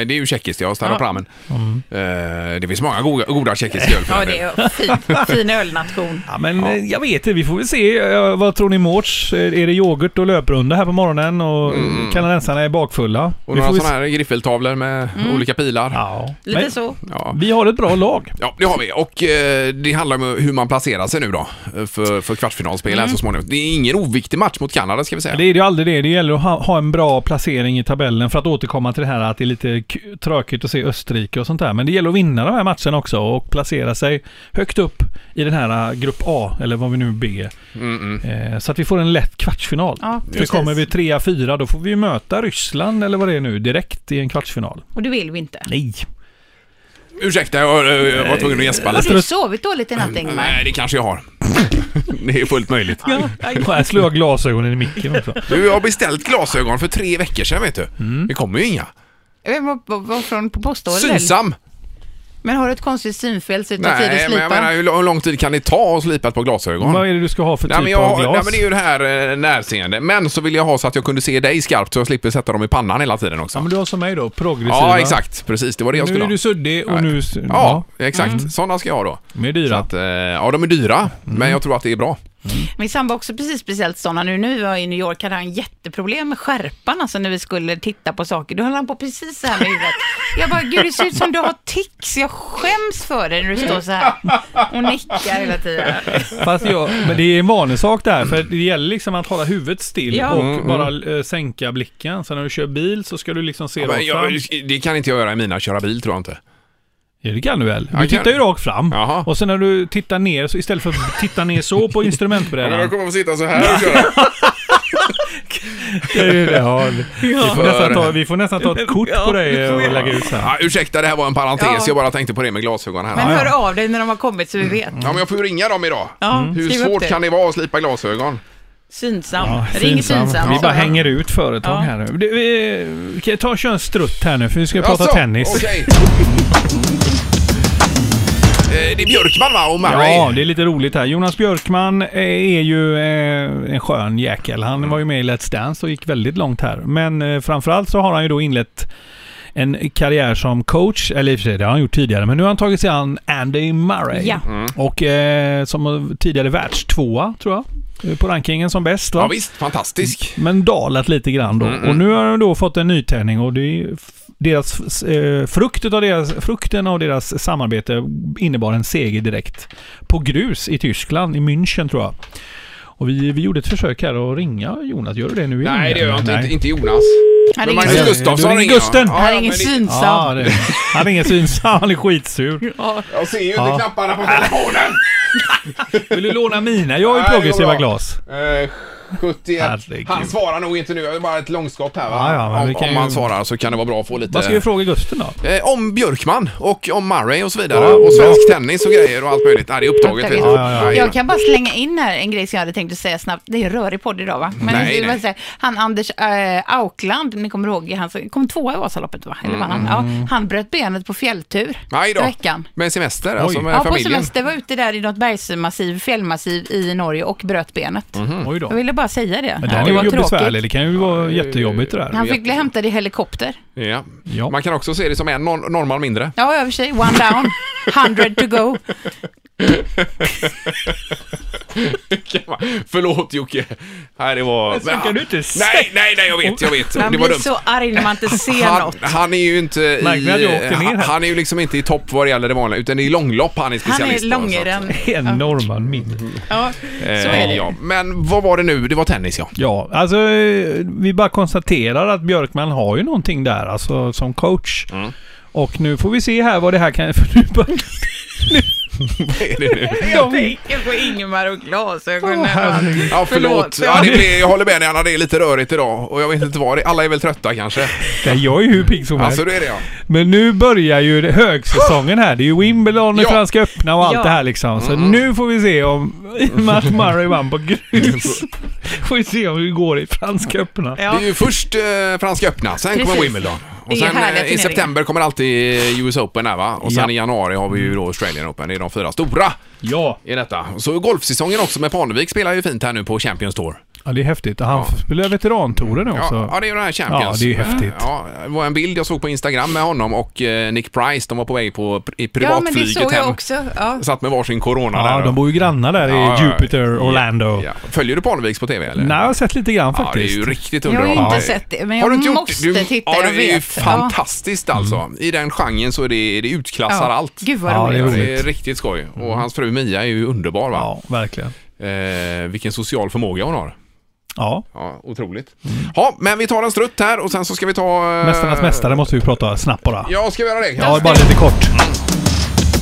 [SPEAKER 6] det är ju tjeckiskt, ja. Staropramen.
[SPEAKER 7] Mm.
[SPEAKER 6] Eh, det finns många goda, goda tjeckiska öl. för
[SPEAKER 8] Ja,
[SPEAKER 6] den
[SPEAKER 8] det
[SPEAKER 6] delen.
[SPEAKER 8] är fin, fin ölnation.
[SPEAKER 7] Ja, men eh, jag vet inte. Vi får väl se. Eh, Vad tror ni Mårts? Eh, Är det yoghurt och löprunda här på morgonen och kanadensarna är bakfulla?
[SPEAKER 6] Mm. Och
[SPEAKER 7] vi
[SPEAKER 6] några
[SPEAKER 7] får väl
[SPEAKER 6] sådana här griffeltavlor med
[SPEAKER 8] Mm.
[SPEAKER 6] olika pilar.
[SPEAKER 7] Ja.
[SPEAKER 8] Lite
[SPEAKER 7] Men
[SPEAKER 8] så.
[SPEAKER 6] Ja.
[SPEAKER 7] Vi har ett bra lag.
[SPEAKER 6] Ja, det har vi. Och eh, det handlar om hur man placerar sig nu då eh, för, för kvartsfinalspelen
[SPEAKER 8] Mm.
[SPEAKER 6] så småningom. Det är ingen oviktig match mot Kanada ska vi säga.
[SPEAKER 7] Det är ju aldrig det. Det gäller att ha, ha en bra placering i tabellen för att återkomma till det här att det är lite k- tråkigt att se Österrike och sånt där. Men det gäller att vinna de här matcherna också och placera sig högt upp i den här eh, grupp A, eller vad vi nu bygger. Eh, så att vi får en lätt kvartsfinal.
[SPEAKER 8] Ja,
[SPEAKER 7] för
[SPEAKER 8] precis.
[SPEAKER 7] kommer vi trea, fyra, då får vi ju möta Ryssland eller vad det är nu direkt i en kvartsfinal.
[SPEAKER 8] Och det vill vi inte.
[SPEAKER 7] Nej.
[SPEAKER 6] Ursäkta, jag, eh, jag var tvungen att gäspa
[SPEAKER 8] Har
[SPEAKER 6] lite.
[SPEAKER 8] du sovit dåligt i natt, Ingmar?
[SPEAKER 6] Nej, det kanske jag har. det är fullt möjligt.
[SPEAKER 7] Ja, här slår jag glasögonen i micken också.
[SPEAKER 6] Du, jag har beställt glasögon för tre veckor sedan vet du.
[SPEAKER 7] Mm.
[SPEAKER 6] Det kommer ju inga.
[SPEAKER 8] Vem var, var, var från på postorder?
[SPEAKER 6] Synsam!
[SPEAKER 8] Men har du ett konstigt synfel så det tar tid
[SPEAKER 6] Nej,
[SPEAKER 8] att
[SPEAKER 6] men jag
[SPEAKER 8] slipa?
[SPEAKER 6] menar hur lång- hur lång tid kan det ta att slipa ett par glasögon?
[SPEAKER 7] Vad är det du ska ha för typ
[SPEAKER 6] Nej men, jag,
[SPEAKER 7] av
[SPEAKER 6] har-
[SPEAKER 7] glas?
[SPEAKER 6] nej men det är ju det här eh, närseende. Men så vill jag ha så att jag kunde se dig skarpt så jag slipper sätta dem i pannan hela tiden också.
[SPEAKER 7] Ja, men du har som mig då, progressiva.
[SPEAKER 6] Ja exakt, precis det var det jag
[SPEAKER 7] Nu
[SPEAKER 6] skulle
[SPEAKER 7] är
[SPEAKER 6] ha.
[SPEAKER 7] du Mm. suddig och
[SPEAKER 6] Nej.
[SPEAKER 7] nu...
[SPEAKER 6] Ja, exakt. Sådana ska jag ha då.
[SPEAKER 7] Med
[SPEAKER 6] Så
[SPEAKER 7] dyra. Mm.
[SPEAKER 6] att, eh, ja, de är dyra, men jag tror att det är bra.
[SPEAKER 8] Min sambo har också precis speciellt sådana nu. Nu var jag i New York hade han jätteproblem med skärpan alltså när vi skulle titta på saker. Då höll han på precis så här med huvudet. Jag bara, gud det ser ut som du har tics. Jag skäms för dig när du står så här och nickar hela tiden.
[SPEAKER 7] Fast jag, men det är en vanesak där, för det gäller liksom att hålla huvudet still
[SPEAKER 8] Ja.
[SPEAKER 6] Mm,
[SPEAKER 7] och bara eh, sänka blicken. Så när du kör bil så ska du liksom se
[SPEAKER 6] Men
[SPEAKER 7] rakt fram.
[SPEAKER 6] jag, det kan inte jag göra i mina köra bil tror jag inte.
[SPEAKER 7] Ja, det kan du väl? Du
[SPEAKER 6] kan-
[SPEAKER 7] tittar ju rakt fram.
[SPEAKER 6] Jaha.
[SPEAKER 7] Och sen när du tittar ner, så istället för att titta ner så på instrumentbrädan.
[SPEAKER 6] kommer få sitta så här och köra.
[SPEAKER 7] Det är ju det, ja. Vi får nästan ta, vi får nästan ta ett kort på dig och lägga ut sen.
[SPEAKER 6] Ja, ursäkta, det här var en parentes.
[SPEAKER 8] Ja.
[SPEAKER 6] Jag bara tänkte på det med glasögon här.
[SPEAKER 8] Men
[SPEAKER 6] ja,
[SPEAKER 8] hör av dig när de har kommit så vi vet.
[SPEAKER 6] men jag får ju ringa dem idag.
[SPEAKER 8] Ja,
[SPEAKER 6] Mm. Hur
[SPEAKER 8] skriv upp
[SPEAKER 6] svårt
[SPEAKER 8] det.
[SPEAKER 6] kan det vara att slipa glasögon?
[SPEAKER 8] Synsam.
[SPEAKER 7] Ja,
[SPEAKER 8] Ring Synsam.
[SPEAKER 7] Vi bara hänger ut företag
[SPEAKER 8] Ja.
[SPEAKER 7] här nu. Du, vi, kan jag ta och köra en strutt här nu, för vi ska prata
[SPEAKER 6] Jaså,
[SPEAKER 7] tennis.
[SPEAKER 6] okej. Eh, det är Björkman va? Och Murray?
[SPEAKER 7] Ja, det är lite roligt här. Jonas Björkman eh, är ju eh, en skön jäkel. Han var ju med i Let's Dance och gick väldigt långt här. Men eh, framförallt så har han ju då inlett en karriär som coach, eller i och för sig det har han gjort tidigare, men nu har han tagit sig an Andy Murray.
[SPEAKER 8] Ja.
[SPEAKER 6] Mm.
[SPEAKER 7] Och eh, som tidigare världstvåa, tror jag, eh, på rankingen som bäst. Va?
[SPEAKER 6] ja visst, fantastisk.
[SPEAKER 7] men dalat lite grann då. Och nu har de då fått en nytändning och det är f- deras, eh, fruktet av deras, frukten av deras samarbete innebar en seger direkt. På grus i Tyskland, i München tror jag. Och vi, vi gjorde ett försök här att ringa Jonas. Gör du det nu igen?
[SPEAKER 6] Mm. Nej, det gör jag inte.
[SPEAKER 7] Nej.
[SPEAKER 6] Inte, inte Jonas. Men
[SPEAKER 8] Han ringer,
[SPEAKER 6] Magnus
[SPEAKER 7] Nej,
[SPEAKER 6] Gustafsson
[SPEAKER 7] du ringer
[SPEAKER 6] ringer jag.
[SPEAKER 7] Gusten.
[SPEAKER 6] Ja,
[SPEAKER 8] han
[SPEAKER 6] ja,
[SPEAKER 8] ringer
[SPEAKER 6] men det-
[SPEAKER 8] Synsam.
[SPEAKER 7] Ja, det, han är ingen syns. Han är skitsur.
[SPEAKER 6] Jag ser ju inte
[SPEAKER 7] Ja.
[SPEAKER 6] knapparna på telefonen.
[SPEAKER 7] Vill du låna mina? Jag har ju
[SPEAKER 6] Nej, det går
[SPEAKER 7] progressiva
[SPEAKER 6] bra.
[SPEAKER 7] glas.
[SPEAKER 6] Eh, 71.
[SPEAKER 7] Herregud.
[SPEAKER 6] Han svarar nog inte nu. Det är bara ett långskott här va?
[SPEAKER 7] Ja, ja, men vi
[SPEAKER 6] om,
[SPEAKER 7] kan
[SPEAKER 6] om
[SPEAKER 7] ju-
[SPEAKER 6] han svarar så kan det vara bra att få
[SPEAKER 7] Vad ska vi
[SPEAKER 6] lite...
[SPEAKER 7] fråga Gusten
[SPEAKER 8] Mm.
[SPEAKER 7] då?
[SPEAKER 6] Eh, om Björkman och om Murray och så vidare. Och svensk tennis och grejer och allt möjligt. Nej, det är upptaget. vet du.
[SPEAKER 8] Ja,
[SPEAKER 7] ja, ja.
[SPEAKER 6] Nej,
[SPEAKER 8] Jag kan bara slänga in här en grej som jag hade tänkt att säga snabbt. Det är en rörig podd idag va? Men
[SPEAKER 6] Nej,
[SPEAKER 8] jag vill bara
[SPEAKER 6] nej.
[SPEAKER 8] säga, han Anders äh, Aukland, ni kommer ihåg, han som kom tvåa i Vasaloppet va? Eller vann han? Ja, han bröt benet på fjälltur
[SPEAKER 6] Nej Mm. då.
[SPEAKER 8] i veckan.
[SPEAKER 6] Med semester, alltså med
[SPEAKER 8] Ja, på
[SPEAKER 6] familjen.
[SPEAKER 8] semester var ute där i något bergsmassiv, fjällmassiv i Norge och bröt benet.
[SPEAKER 6] Mhm.
[SPEAKER 7] Oj då.
[SPEAKER 8] Jag ville bara säga det.
[SPEAKER 7] Men den
[SPEAKER 8] det
[SPEAKER 7] är
[SPEAKER 8] var
[SPEAKER 7] ju besvärlig.
[SPEAKER 8] tråkigt.
[SPEAKER 7] Det kan ju vara jättejobbigt det där.
[SPEAKER 8] Han fick bli hämtad i helikopter.
[SPEAKER 6] Ja.
[SPEAKER 7] Ja.
[SPEAKER 6] Man kan också se det som en nor- norrman mindre.
[SPEAKER 8] Ja, i och för sig. One down, hundred to go.
[SPEAKER 6] Förlåt Jocke. Nej, det var...
[SPEAKER 7] så kan du inte
[SPEAKER 6] nej, nej, nej, jag vet, jag vet.
[SPEAKER 8] Man
[SPEAKER 6] Det var
[SPEAKER 8] blir
[SPEAKER 6] dumt.
[SPEAKER 8] så arg när man inte ser
[SPEAKER 6] Han,
[SPEAKER 8] något.
[SPEAKER 6] han är ju inte
[SPEAKER 7] Märker
[SPEAKER 6] i,
[SPEAKER 7] ni att jag åkte ner
[SPEAKER 6] han,
[SPEAKER 7] här?
[SPEAKER 6] han är ju liksom inte i topp vad det gäller det vanliga, utan det är långlopp han är
[SPEAKER 8] Han är
[SPEAKER 6] specialist alltså. på, så att-
[SPEAKER 8] långren.
[SPEAKER 7] En norrman mindre.
[SPEAKER 8] Ja, så är det.
[SPEAKER 6] Eh, Ja, men vad var det nu? Det var tennis ja.
[SPEAKER 7] Ja, alltså eh, vi bara konstaterar att Björkman har ju någonting där, alltså som coach.
[SPEAKER 6] Mm.
[SPEAKER 7] Och nu får vi se här vad det här kan... För nu börjar-
[SPEAKER 8] Jag tänker på Ingemar och glasögonen.
[SPEAKER 6] Ja, förlåt.
[SPEAKER 8] Förlåt.
[SPEAKER 6] Ja, det blir, jag håller med dig Anna, det är lite rörigt idag och jag vet inte vad det Alla är väl trötta kanske?
[SPEAKER 7] Nej, jag är ju hur pigg som helst.
[SPEAKER 6] Alltså, det är det ja.
[SPEAKER 7] Men nu börjar ju det- högsäsongen här. Det är ju Wimbledon och
[SPEAKER 6] Ja.
[SPEAKER 7] Franska öppna och allt
[SPEAKER 8] Ja.
[SPEAKER 7] det här liksom. Så nu får vi se om... I och med att Murray vann på grus. får vi se om det går i Franska öppna.
[SPEAKER 6] Det är ju först eh, Franska öppna, sen
[SPEAKER 8] Precis.
[SPEAKER 6] kommer Wimbledon.
[SPEAKER 8] Det
[SPEAKER 6] Och
[SPEAKER 8] är
[SPEAKER 6] sen
[SPEAKER 8] härliga
[SPEAKER 6] eh, i
[SPEAKER 8] turneringar.
[SPEAKER 6] september kommer alltid US Open här va? Och sen
[SPEAKER 7] Ja.
[SPEAKER 6] i januari har vi ju då Australian Open. Det är de fyra stora
[SPEAKER 7] Ja.
[SPEAKER 6] i detta. Så golfsäsongen också med Parnevik spelar ju fint här nu på Champions Tour.
[SPEAKER 7] Ja, det är häftigt. Han spelar veterantouren nu också.
[SPEAKER 6] Ja, ja, det är ju den här Champions.
[SPEAKER 7] Ja, det är ju häftigt.
[SPEAKER 6] Ja, det var en bild jag såg på Instagram med honom och eh, Nick Price. De var på väg på, i
[SPEAKER 8] Ja, men det
[SPEAKER 6] privatflyget
[SPEAKER 8] såg jag
[SPEAKER 6] hem.
[SPEAKER 8] också. Ja.
[SPEAKER 6] Satt med varsin corona
[SPEAKER 7] Ja,
[SPEAKER 6] där.
[SPEAKER 7] de bor ju grannar där
[SPEAKER 6] Ja,
[SPEAKER 7] i
[SPEAKER 6] ja, ja.
[SPEAKER 7] Jupiter, Orlando.
[SPEAKER 6] Ja. Följer du Parneviks på TV eller?
[SPEAKER 7] Nej, jag har sett lite grann
[SPEAKER 6] Ja, det är
[SPEAKER 7] faktiskt.
[SPEAKER 6] ju riktigt
[SPEAKER 8] Jag har
[SPEAKER 6] underhållande.
[SPEAKER 8] ju inte sett det, men jag
[SPEAKER 6] du inte gjort
[SPEAKER 8] måste
[SPEAKER 6] det? Du-
[SPEAKER 8] titta,
[SPEAKER 6] Ja,
[SPEAKER 8] jag
[SPEAKER 6] det är ju
[SPEAKER 8] vet.
[SPEAKER 6] fantastiskt alltså.
[SPEAKER 7] Mm.
[SPEAKER 6] I den genren så är det, det utklassar allt.
[SPEAKER 8] Gud vad
[SPEAKER 7] Ja,
[SPEAKER 8] roligt.
[SPEAKER 7] det är roligt.
[SPEAKER 6] Det är riktigt skoj. Och hans fru Mia är ju underbar va?
[SPEAKER 7] Ja, verkligen.
[SPEAKER 6] Eh, vilken social förmåga hon har.
[SPEAKER 7] Ja,
[SPEAKER 6] Ja, otroligt. Ja, men vi tar en strutt här och sen så ska vi ta... eh,
[SPEAKER 7] Mästarnas Mästare måste vi prata snabbt bara.
[SPEAKER 6] Ja, ska vi göra det?
[SPEAKER 7] Ja, bara lite kort.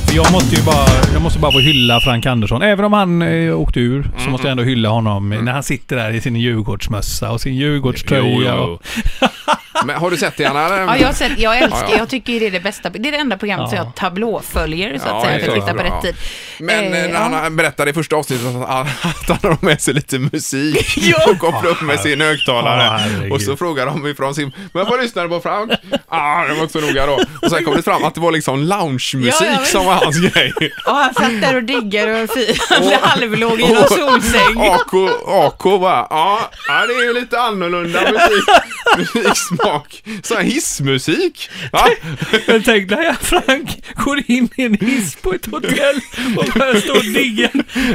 [SPEAKER 7] För Jag måste ju bara, jag måste bara få hylla Frank Andersson. Även om han eh, åkte ur så måste jag ändå hylla honom eh, när han sitter där i sin Djurgårdsmössa och sin
[SPEAKER 6] Jo,
[SPEAKER 7] Djurgårdströja.
[SPEAKER 6] jo.
[SPEAKER 7] och-
[SPEAKER 6] Men har du sett det Anna? eller?
[SPEAKER 8] Ja, jag, har sett, jag
[SPEAKER 6] Ja,
[SPEAKER 8] älskar,
[SPEAKER 6] ja.
[SPEAKER 8] jag tycker det är det bästa, det är det enda programmet som jag tablåföljer så att
[SPEAKER 6] Ja,
[SPEAKER 8] säga,
[SPEAKER 6] det
[SPEAKER 8] för
[SPEAKER 6] är
[SPEAKER 8] att titta
[SPEAKER 6] bra.
[SPEAKER 8] på rätt tid.
[SPEAKER 6] Men eh,
[SPEAKER 8] Eh,
[SPEAKER 6] när han berättade i första avsnittet att han, att han har med sig lite musik och kopplar upp med sin
[SPEAKER 7] Ja,
[SPEAKER 6] högtalare.
[SPEAKER 7] herregud.
[SPEAKER 6] och så frågar de ifrån sin... Men vad lyssnar du på Frank? Ah, det var också noga då. Och sen kom det fram att det var liksom loungemusik
[SPEAKER 8] Ja, ja, visst.
[SPEAKER 6] som han var hans grej.
[SPEAKER 8] Och han satt där och diggade och firade halvlåg i någon solsäng.
[SPEAKER 6] AK, AK bara, ja, ja, det är ju lite annorlunda musik, musiksmak. Så här hissmusik. Va?
[SPEAKER 7] Jag tänkte när jag Frank går in i en hiss på ett hotell och börjar stå och digga.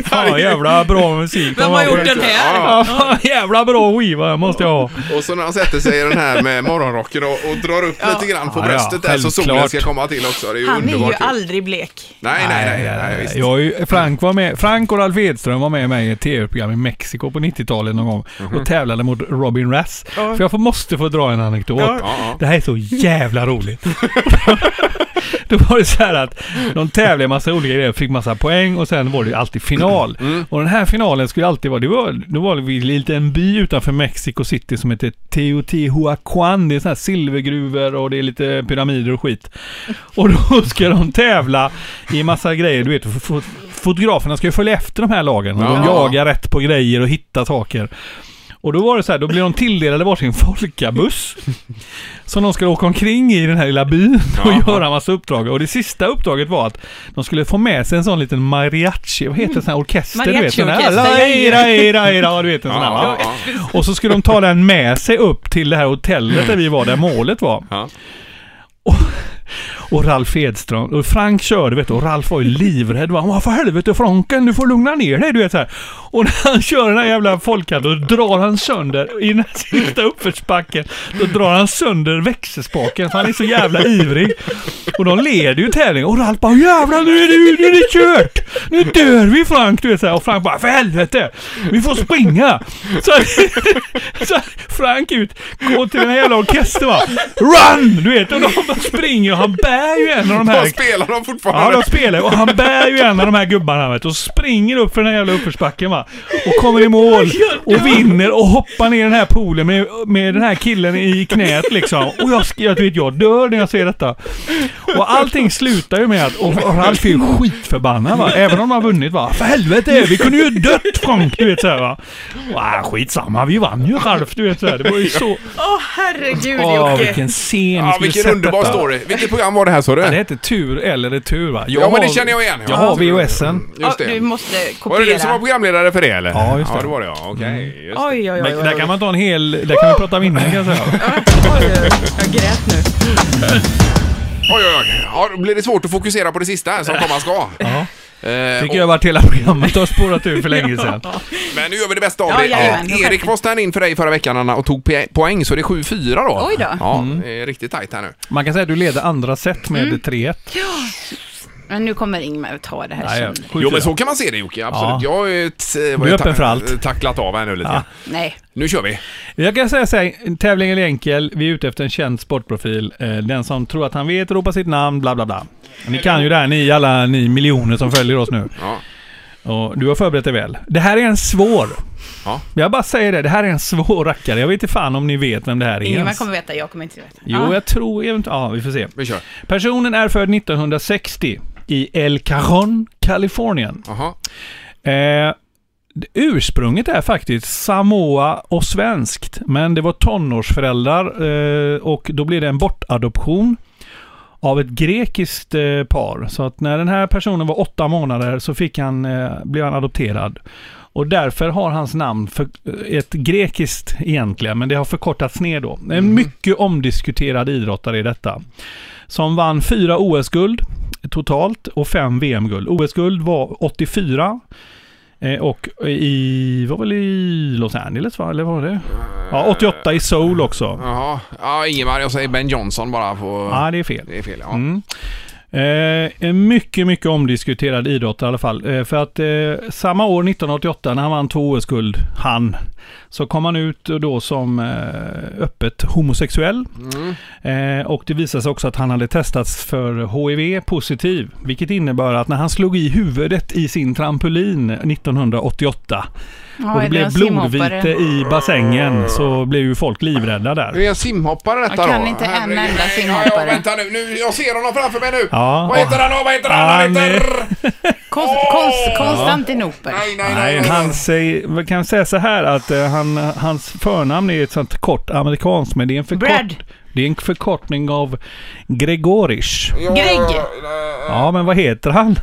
[SPEAKER 7] Fan jävla bra musik.
[SPEAKER 8] Vem har gjort den här?
[SPEAKER 7] Ja, fan, jävla bra skiva jag måste jag ha.
[SPEAKER 6] Och så när han sätter sig i den här med morgonrocken och, och drar upp lite grann på
[SPEAKER 7] Ja, ja,
[SPEAKER 6] bröstet där så solen
[SPEAKER 7] självklart.
[SPEAKER 6] ska komma till också. Det är ju
[SPEAKER 8] Han är
[SPEAKER 6] underbart.
[SPEAKER 8] ju aldrig blek.
[SPEAKER 6] Nej, nej, nej. nej, nej visst.
[SPEAKER 7] Jag, är ju- Frank, var med, Frank och Ralf Edström var med mig i ett tv-program i Mexiko på 90-talet någon gång
[SPEAKER 6] Mhm.
[SPEAKER 7] och tävlade mot Robin Rass. För jag får, måste få dra en anekdot.
[SPEAKER 6] ja.
[SPEAKER 7] Det här är så jävla roligt. Då var det så här att de tävlade i massa olika grejer, fick massa poäng och sen var det ju alltid final.
[SPEAKER 6] Mm.
[SPEAKER 7] Och den här finalen skulle alltid vara, det var, då var vi i en liten by utanför Mexico City som heter Teotihuacan. Det är sådana här silvergruvor och det är lite pyramider och skit. Och då ska de tävla i massa grejer. Du vet, fo- fo- fotograferna ska ju följa efter de här lagen. Och
[SPEAKER 6] Ja.
[SPEAKER 7] de jagar rätt på grejer och hittar saker. Och då var det så här, då blev de tilldelade varsin folkabuss. Som de skulle åka omkring i den här lilla byn och göra massa uppdrag. Och det sista uppdraget var att de skulle få med sig en sån liten mariachi, vad heter en sån här orkester? Du vet, den här,
[SPEAKER 8] Mariachiorkester, ja, ja.
[SPEAKER 7] la, ira, ira, ira, du vet en sån här va?
[SPEAKER 6] Ja, ja,
[SPEAKER 7] Och så skulle de ta den med sig upp till det här hotellet där vi var, där målet var.
[SPEAKER 6] Ja.
[SPEAKER 7] Och, och Ralf Edström, och Frank körde vet du, och Ralf var ju livrädd. Va? Han bara, för helvete Franken, du får lugna ner dig. Du vet så här. Och när han kör den här jävla folkan, då drar han sönder, i den här sista uppförsbacken, då drar han sönder växelspaken för han är så jävla ivrig. Och de leder ju tävlingen och Ralf bara jävlar nu är det, nu är det kört! Nu dör vi Frank! Du vet så här. Och Frank bara för helvete! Vi får springa! Så, så Frank ut, går till den här jävla orkestern va. Run! Du vet och de bara springer och han bär ju en av de
[SPEAKER 6] Vad
[SPEAKER 7] här
[SPEAKER 6] spelar de
[SPEAKER 7] Ja,
[SPEAKER 6] fortfarande?
[SPEAKER 7] de spelar ju. Och han bär ju en av de här gubbarna vet, du, och springer upp för den här jävla uppförsbacken va. Och kommer i mål och vinner och hoppar ner i den här poolen med, med den här killen i knät liksom. Och jag, sk- jag, vet, jag dör när jag ser detta. Och allting slutar ju med att och och Ralf är ju skitförbannad va. Även om han har vunnit va. För helvete, vi kunde ju dött Frank, du vet såhär va. Och, ah, skitsamma, vi vann ju Ralf, du vet såhär. Det var ju så...
[SPEAKER 8] Åh herregud
[SPEAKER 7] Åh,
[SPEAKER 8] Jocke.
[SPEAKER 7] vilken scen.
[SPEAKER 6] Ja,
[SPEAKER 7] Skulle
[SPEAKER 6] vilken
[SPEAKER 7] sett
[SPEAKER 6] underbar
[SPEAKER 7] detta.
[SPEAKER 6] story. Vilket program var det här sa
[SPEAKER 7] Ja, Det
[SPEAKER 6] du?
[SPEAKER 7] heter tur eller retur va?
[SPEAKER 6] Ja, men det
[SPEAKER 7] har-
[SPEAKER 6] känner jag igen.
[SPEAKER 7] Jag har VHSen.
[SPEAKER 8] Ja,
[SPEAKER 6] Just
[SPEAKER 8] du
[SPEAKER 6] det.
[SPEAKER 8] måste
[SPEAKER 6] Var det du som var
[SPEAKER 8] kopiera.
[SPEAKER 6] programledare för det eller?
[SPEAKER 7] Ja, just det. Mm.
[SPEAKER 6] Ja, det var det ja. Okej, just det.
[SPEAKER 8] Oj, oj, oj. oj,
[SPEAKER 7] Men där kan
[SPEAKER 8] oj.
[SPEAKER 7] man ta en hel... Där kan vi prata vinnare kan jag säga.
[SPEAKER 8] Jag grät nu.
[SPEAKER 6] Oj, oj, oj. Ja, då blir det svårt att fokusera på det sista här som komma ska.
[SPEAKER 7] Ja.
[SPEAKER 6] Eh,
[SPEAKER 7] Tycker jag varit hela programmet har spårat ur för länge sedan.
[SPEAKER 6] Men nu gör vi det bästa av det.
[SPEAKER 8] Ja, jajamän,
[SPEAKER 6] Eh, Erik
[SPEAKER 8] självklart.
[SPEAKER 6] var stand in för dig förra veckan Anna, och tog pe- poäng, så det är 7-4 då.
[SPEAKER 8] Oj då.
[SPEAKER 6] Ja,
[SPEAKER 7] Mm.
[SPEAKER 6] det är riktigt tajt här nu.
[SPEAKER 7] Man kan säga att du leder andra set med
[SPEAKER 6] Mm.
[SPEAKER 7] 3-1.
[SPEAKER 8] Men nu kommer Ingmar att ta det här
[SPEAKER 7] Nej,
[SPEAKER 8] sen.
[SPEAKER 7] sju,
[SPEAKER 6] Jo, men
[SPEAKER 7] fyra.
[SPEAKER 6] så kan man se det Jocke, absolut. Jag har ju t- vad
[SPEAKER 7] är
[SPEAKER 6] jag ta-
[SPEAKER 7] öppen för allt.
[SPEAKER 6] tacklat av här nu lite.
[SPEAKER 7] Ja.
[SPEAKER 8] Nej.
[SPEAKER 6] Nu kör vi.
[SPEAKER 7] Jag kan säga så här, tävlingen är enkel. Vi är ute efter en känd sportprofil. Eh, Den som tror att han vet ropar sitt namn, bla bla bla. Ni kan ju det här, ni alla ni miljoner som följer oss nu.
[SPEAKER 6] Ja.
[SPEAKER 7] Och du har förberett dig väl. Det här är en svår.
[SPEAKER 6] Ja.
[SPEAKER 7] Jag bara säger det, det här är en svår rackare. Jag vet inte fan om ni vet vem det här är
[SPEAKER 8] Ingmar
[SPEAKER 7] ens.
[SPEAKER 8] kommer veta, jag kommer inte veta. Ah,
[SPEAKER 7] Jo, jag tror eventuellt... Ja, vi får se.
[SPEAKER 6] Vi kör.
[SPEAKER 7] Personen är född 1960 i El Cajon, Kalifornien.
[SPEAKER 6] Jaha.
[SPEAKER 7] Eh, det- ursprunget är faktiskt Samoa och svenskt, men det var tonårsföräldrar eh, och då blev det en bortadoption av ett grekiskt eh, par. Så att när den här personen var åtta månader så fick han, eh, blev han adopterad. Och därför har hans namn för, eh, ett grekiskt egentligen, men det har förkortats ner då. En mycket omdiskuterad idrottare i detta. Som vann fyra OS-guld totalt och fem VM-guld. OS-guld var 84 eh, och i, var väl i Los Angeles va? Eller vad var det? Ja, 88 i Seoul också.
[SPEAKER 6] Jaha. Ja, Ingemar, jag säger Ben Johnson bara på...
[SPEAKER 7] Ja, det är fel.
[SPEAKER 6] Det är fel, ja.
[SPEAKER 7] Mm. Eh, en mycket, mycket omdiskuterad idrott i alla fall. Eh, för att eh, samma år, 1988, när han vann två OS-guld, han, så kom han ut då som eh, öppet homosexuell. Eh, och det visade sig också att han hade testats för HIV-positiv, vilket innebär att när han slog i huvudet i sin trampolin 1988
[SPEAKER 8] Ja,
[SPEAKER 7] och
[SPEAKER 8] är
[SPEAKER 7] det blev
[SPEAKER 8] ah, en simhoppare?
[SPEAKER 7] blodvite i bassängen så blev ju folk livrädda där.
[SPEAKER 6] Nu är en simhoppare detta
[SPEAKER 8] Jag kan
[SPEAKER 6] då.
[SPEAKER 8] inte en
[SPEAKER 6] Herregud.
[SPEAKER 8] enda
[SPEAKER 6] Nej, Ja,
[SPEAKER 8] simhoppare.
[SPEAKER 6] ja, vänta nu. nu. Jag ser honom framför mig nu.
[SPEAKER 7] Ja.
[SPEAKER 6] Vad heter han då? Vad heter han?
[SPEAKER 7] Ah,
[SPEAKER 6] Han
[SPEAKER 7] nej.
[SPEAKER 6] heter...
[SPEAKER 8] Konst, konst, Konstantinopel.
[SPEAKER 6] Nej, nej, nej. nej,
[SPEAKER 7] Nej, han säger, man kan säga så här att eh, han, hans förnamn är ett sånt kort amerikanskt, men det är en förkort...
[SPEAKER 8] Brad.
[SPEAKER 7] Det är en förkortning av Gregorish.
[SPEAKER 8] Greg.
[SPEAKER 7] Ja, men vad heter han?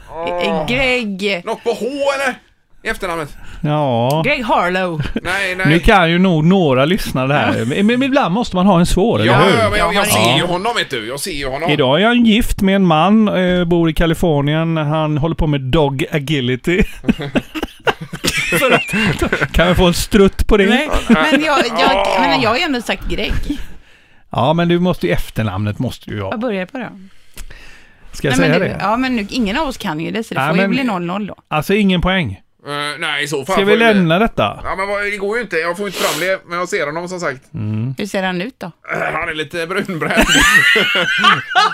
[SPEAKER 8] Eh, Greg...
[SPEAKER 6] Något på H eller? I efternamnet?
[SPEAKER 7] Ja...
[SPEAKER 8] Greg Harlow.
[SPEAKER 6] Nej, nej.
[SPEAKER 7] Nu kan ju nog några lyssnare det här. Men men ibland måste man ha en svår, eller
[SPEAKER 6] Ja,
[SPEAKER 7] hur?
[SPEAKER 6] ja, men jag, jag
[SPEAKER 8] Ja.
[SPEAKER 6] ser ju honom vet du. Jag ser ju honom.
[SPEAKER 7] Idag är han gift med en man, eh, bor i Kalifornien. Han håller på med dog agility. För att- kan vi få en strutt på det?
[SPEAKER 8] Nej, men jag, jag, men jag har ju ändå sagt Greg.
[SPEAKER 7] Ja, men du måste ju efternamnet måste du ha.
[SPEAKER 8] Vad börjar på då?
[SPEAKER 7] Ska jag
[SPEAKER 8] Nej,
[SPEAKER 7] säga
[SPEAKER 8] men
[SPEAKER 7] det?
[SPEAKER 8] Ja, men nu, ingen av oss kan ju det, så det
[SPEAKER 7] Nej,
[SPEAKER 8] får
[SPEAKER 7] men-
[SPEAKER 8] ju bli 0-0 då.
[SPEAKER 7] Alltså ingen poäng.
[SPEAKER 6] Eh, nej, i så fall.
[SPEAKER 7] Ska
[SPEAKER 6] får
[SPEAKER 7] vi
[SPEAKER 6] ju bli-
[SPEAKER 7] lämna detta?
[SPEAKER 6] Ja, men vad, det går ju inte. Jag får inte fram det. Men jag ser honom som sagt.
[SPEAKER 8] Hur ser han ut då?
[SPEAKER 6] Eh, Han är lite brunbränd.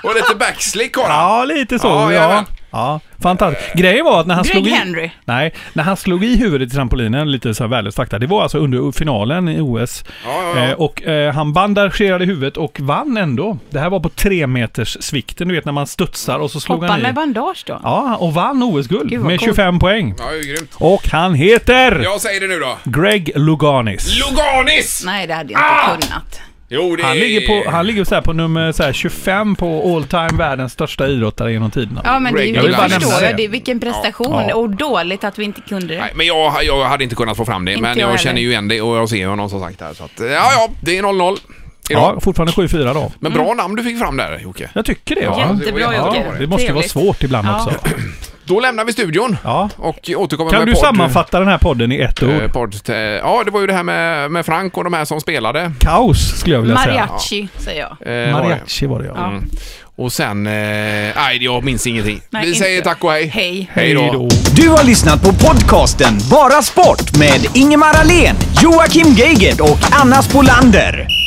[SPEAKER 6] och lite backslick har han.
[SPEAKER 7] Ja, lite så.
[SPEAKER 6] Ja,
[SPEAKER 7] Ja,
[SPEAKER 6] jajamän.
[SPEAKER 7] ja. fantastiskt. Grejen var att när han
[SPEAKER 8] Greg
[SPEAKER 7] slog i...
[SPEAKER 8] Henry.
[SPEAKER 7] Nej, när han slog i huvudet i trampolinen, lite så här värdelös fakta. Det var alltså under finalen i OS.
[SPEAKER 6] Ja, ja, ja.
[SPEAKER 7] Eh, och eh, han bandagerade huvudet och vann ändå. Det här var på tre meters svikten, du vet när man studsar och så slog
[SPEAKER 8] Hoppar
[SPEAKER 7] han i.
[SPEAKER 8] med bandage då?
[SPEAKER 7] Ja, och vann
[SPEAKER 8] Gud,
[SPEAKER 7] OS-guld
[SPEAKER 8] vad
[SPEAKER 7] med
[SPEAKER 8] coolt.
[SPEAKER 7] 25 poäng.
[SPEAKER 6] Ja, det är ju grymt.
[SPEAKER 7] Och han heter
[SPEAKER 6] Jag säger det nu då.
[SPEAKER 7] Greg Luganis.
[SPEAKER 6] Luganis!
[SPEAKER 8] Nej, det hade jag
[SPEAKER 6] Ah!
[SPEAKER 8] inte kunnat.
[SPEAKER 6] Jo, det
[SPEAKER 7] Mm. Han
[SPEAKER 6] är-
[SPEAKER 7] ligger, på, han ligger så här på nummer så här 25 på all time världens största idrottare genom tiderna.
[SPEAKER 8] Ja, men det,
[SPEAKER 6] Greg
[SPEAKER 8] det
[SPEAKER 6] Luganis.
[SPEAKER 7] Jag vill bara
[SPEAKER 8] förstår
[SPEAKER 7] nämna
[SPEAKER 8] jag.
[SPEAKER 7] det.
[SPEAKER 8] Det, vilken prestation.
[SPEAKER 7] Ja.
[SPEAKER 8] Och dåligt att vi inte kunde det.
[SPEAKER 6] Nej, men jag, jag hade inte kunnat få fram det.
[SPEAKER 8] Inte
[SPEAKER 6] men
[SPEAKER 8] jag
[SPEAKER 6] jag,
[SPEAKER 8] heller.
[SPEAKER 6] känner ju igen det och jag ser honom som sagt här. Så att, eh, ja, ja, det är 0-0 idag.
[SPEAKER 7] Ja, fortfarande 7-4 då.
[SPEAKER 6] Men bra
[SPEAKER 8] Mm.
[SPEAKER 6] namn du fick fram där, Jocke.
[SPEAKER 7] Jag tycker det. va?
[SPEAKER 6] Ja, det var
[SPEAKER 8] Jättebra
[SPEAKER 6] jättebra.
[SPEAKER 8] Jocke.
[SPEAKER 6] Ja,
[SPEAKER 7] Det måste ju vara
[SPEAKER 8] Trevligt.
[SPEAKER 7] svårt ibland
[SPEAKER 8] Ja.
[SPEAKER 7] också.
[SPEAKER 6] Då lämnar vi studion
[SPEAKER 7] Ja.
[SPEAKER 6] och återkommer
[SPEAKER 7] Kan
[SPEAKER 6] med
[SPEAKER 7] du
[SPEAKER 6] podd-
[SPEAKER 7] sammanfatta den här podden i ett
[SPEAKER 6] eh,
[SPEAKER 7] ord?
[SPEAKER 6] Podd, eh, ja, det var ju det här med, med Frank och de här som spelade.
[SPEAKER 7] Kaos skulle jag vilja säga.
[SPEAKER 8] Mariachi, säger jag.
[SPEAKER 6] Eh, var det.
[SPEAKER 7] Mariachi var det ja.
[SPEAKER 8] Ja.
[SPEAKER 6] Och sen... Eh, nej, jag minns ingenting.
[SPEAKER 8] Nej,
[SPEAKER 6] vi
[SPEAKER 8] inte.
[SPEAKER 6] säger tack och hej.
[SPEAKER 8] Hej.
[SPEAKER 6] Hej då.
[SPEAKER 5] Du har lyssnat på podcasten Bara Sport med Ingemar Ahlén, Joakim Geigert och Anna Spolander.